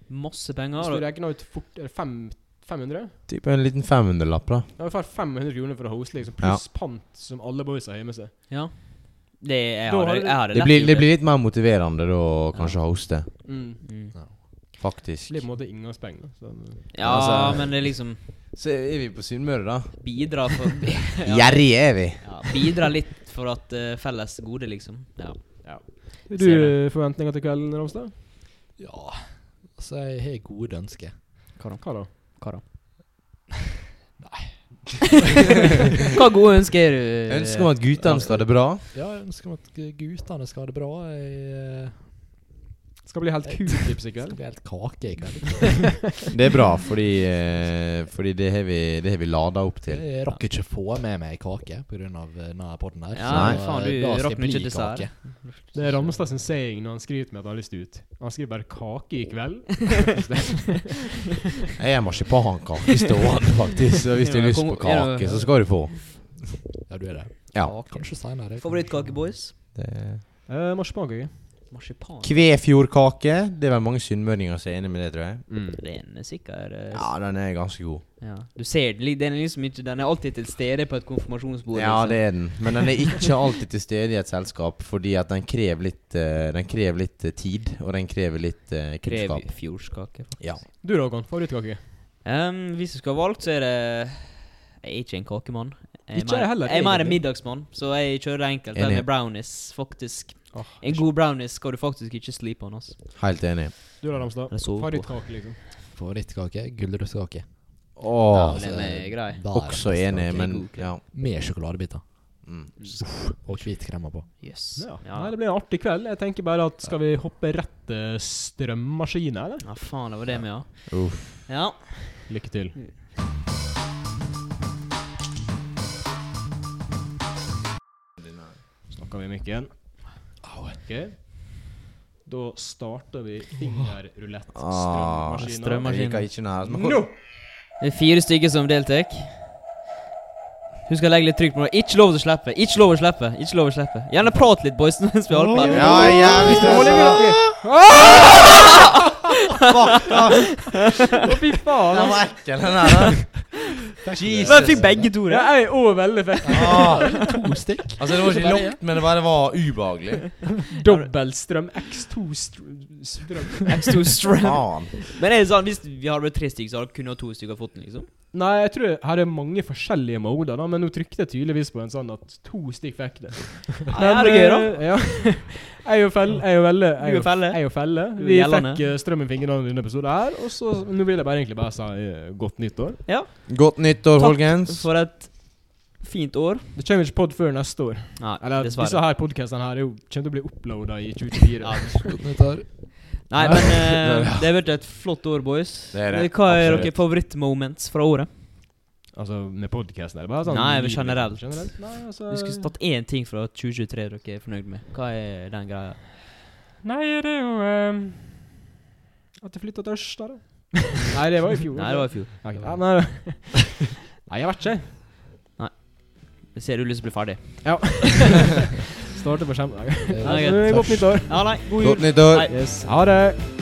Masse penger.
Hvis du
Og,
regner ut fort er det fem- 500?
Typ en liten 500-lapp, da.
Ja, vi får 500 kroner for å hoste, liksom, pluss pant som alle boysa har med seg.
ja. Det jeg
Da
hadde,
hadde du-
jeg hadde
Det
lett
blir,
gjort
det blir litt mer motiverende da å kanskje hoste,
Mm.
Mm.
Det
faktisk.
blir på en måte inngangspenger. da, så-
Ja,
Altså-
men det liksom
Så er vi på Sunnmøre, da.
bidrar for ja.
Gjerrige er vi.
ja, Bidrar litt for at eh, felles gode, liksom. Ja.
Har
Ser
Du eh, forventninger til kvelden, Ramstad?
Ja, altså jeg har gode ønsker.
Hva da?
Hva da? Nei Hva gode ønsker du?
Ønsker om at guttene skal ha det bra.
Ja, jeg ønsker meg at guttene skal ha det bra. Jeg eh,
Skal bli helt q-tips i
skal
kveld.
bli helt kake i kveld.
Det er bra, fordi, eh, fordi det har vi, det har vi lada opp til.
Jeg rakk ikke få med meg kake pga. eh, denne podden her.
Ja,
Nei.
eh,
faen, du
da skal
rakk
jeg
ikke
bli
dessert.
kake.
Det er Ramstad sin saying når han skriver til meg at han har lyst til ut. Han skriver bare 'kake i kveld'.
Jeg har marsipankake stående, faktisk. Så hvis du har lyst på kake, så skal du få.
Ja, du er det.
Ja.
Kanskje seinere.
Favorittkakeboys?
Det-
Eh, Marsipankake.
Marsipan.
Kvefjordkake. Det er vel mange sunnmøringer som er enig med det, tror jeg.
Mm. Den er sikker. eh,
Ja, den er ganske god.
Ja. Du ser den, li- den er liksom ikke Den er alltid til stede på et konfirmasjonsbord.
Ja,
liksom.
det er den. Men den er ikke alltid til stede i et selskap, fordi at den krever litt, eh, den krever litt eh, tid, og den krever litt eh, kunnskap.
Krev fjordskake. faktisk.
Ja.
Du da, Håkon? Favorittkake?
Ehm, hvis jeg skulle ha valgt, så er det Jeg er ikke en kakemann. Jeg er
Ikke jeg
mer-
heller,
Jeg er mer en
egentlig.
middagsmann, så jeg kjører enkelt her
Enig.
med brownies, faktisk.
Åh,
En god brownies skal du faktisk ikke slipe den, altså.
Helt enig.
Du da, Ramstad?
Jeg sover på.
Favorittkake, liksom.
Favorittkake? Gulrotskake.
Åh,
Ja,
Altså,
den
eh,
er grei.
Der er
også
det
enig,
beste.
men ja.
Med sjokoladebiter.
Mm.
Og hvit krem på.
Jøss.
Ja. Nei,
Ja.
det blir en artig kveld. Jeg tenker bare at Skal vi hoppe rett til strømmaskinen, eller?
ja, faen, det var det med, ja.
Uff.
Ja.
Lykke til. Snakker vi i mikken. Ok. Da starter vi fingerrulett
Ah,
strømmaskinen.
strøm-
Jeg liker ikke den her. Men hvor-
Det er fire stykker som deltar. Husk å legge litt trykk på det. Ikke lov til å slippe. Ikke lov til å slippe. Ikke lov til å slippe. Gjerne prat litt, boys, mens vi holder på.
Ja, jævlig stressa.
Å, fy faen!
Den var ekkel, den her. da.
Men
Jesus.
fikk begge to
Det
det.
er òg veldig fett.
Ah,
To stykk.
altså, det var ikke lukk, men det bare var ubehagelig.
Dobbeltstrøm X2 str- strøm.
X2 strap.
Faen.
Men er det sånn, hvis vi hadde vært tre stykker, så hadde kunne ha to stykker fått den, liksom?
Nei, jeg tror her er mange forskjellige moder, da, men nå trykte jeg tydeligvis på en sånn at to stykk fikk det.
Ja, er det gøy, da?
eh, Ja. Jeg og Felle. Jeg og Velle.
Du er felle.
Jeg og Felle.
Du er
Vi fikk
gjeldende.
eh, strøm i fingrene i denne episoden her, og så Nå vil jeg bare egentlig bare si eh, godt nyttår.
Godt nyttår,
Takk
folkens.
for et fint år.
Det kommer ikke pod før neste år.
Nei,
Eller disse
dessverre.
her podcastene her er jo, kommer til å bli uploada i 2024.
Ja,
Godt nyttår.
Nei, men eh, det har vært et flott år, boys. Eh,
Det er det,
Hva er
absolutt.
deres favorittmoments fra året?
Altså med podkasten, eller bare sånn
Nei, men
livet
generelt.
Nei, altså,
Vi skulle tatt én ting fra 2023 dere er fornøyd med. Hva er den greia?
Nei, det er jo ehm, At jeg flytta til Ørsta, da. Nei, det var i fjor.
Nei, det var i fjor.
Ok, ja, nei, nei, jeg vet ikke.
Jeg ser du lyst til å bli ferdig.
Starter på skjermen.
Eh,
Nei, Godt nytt år.
Ja, nei, god jul.
Godt nyttår!
Nei.
Yes, ha det.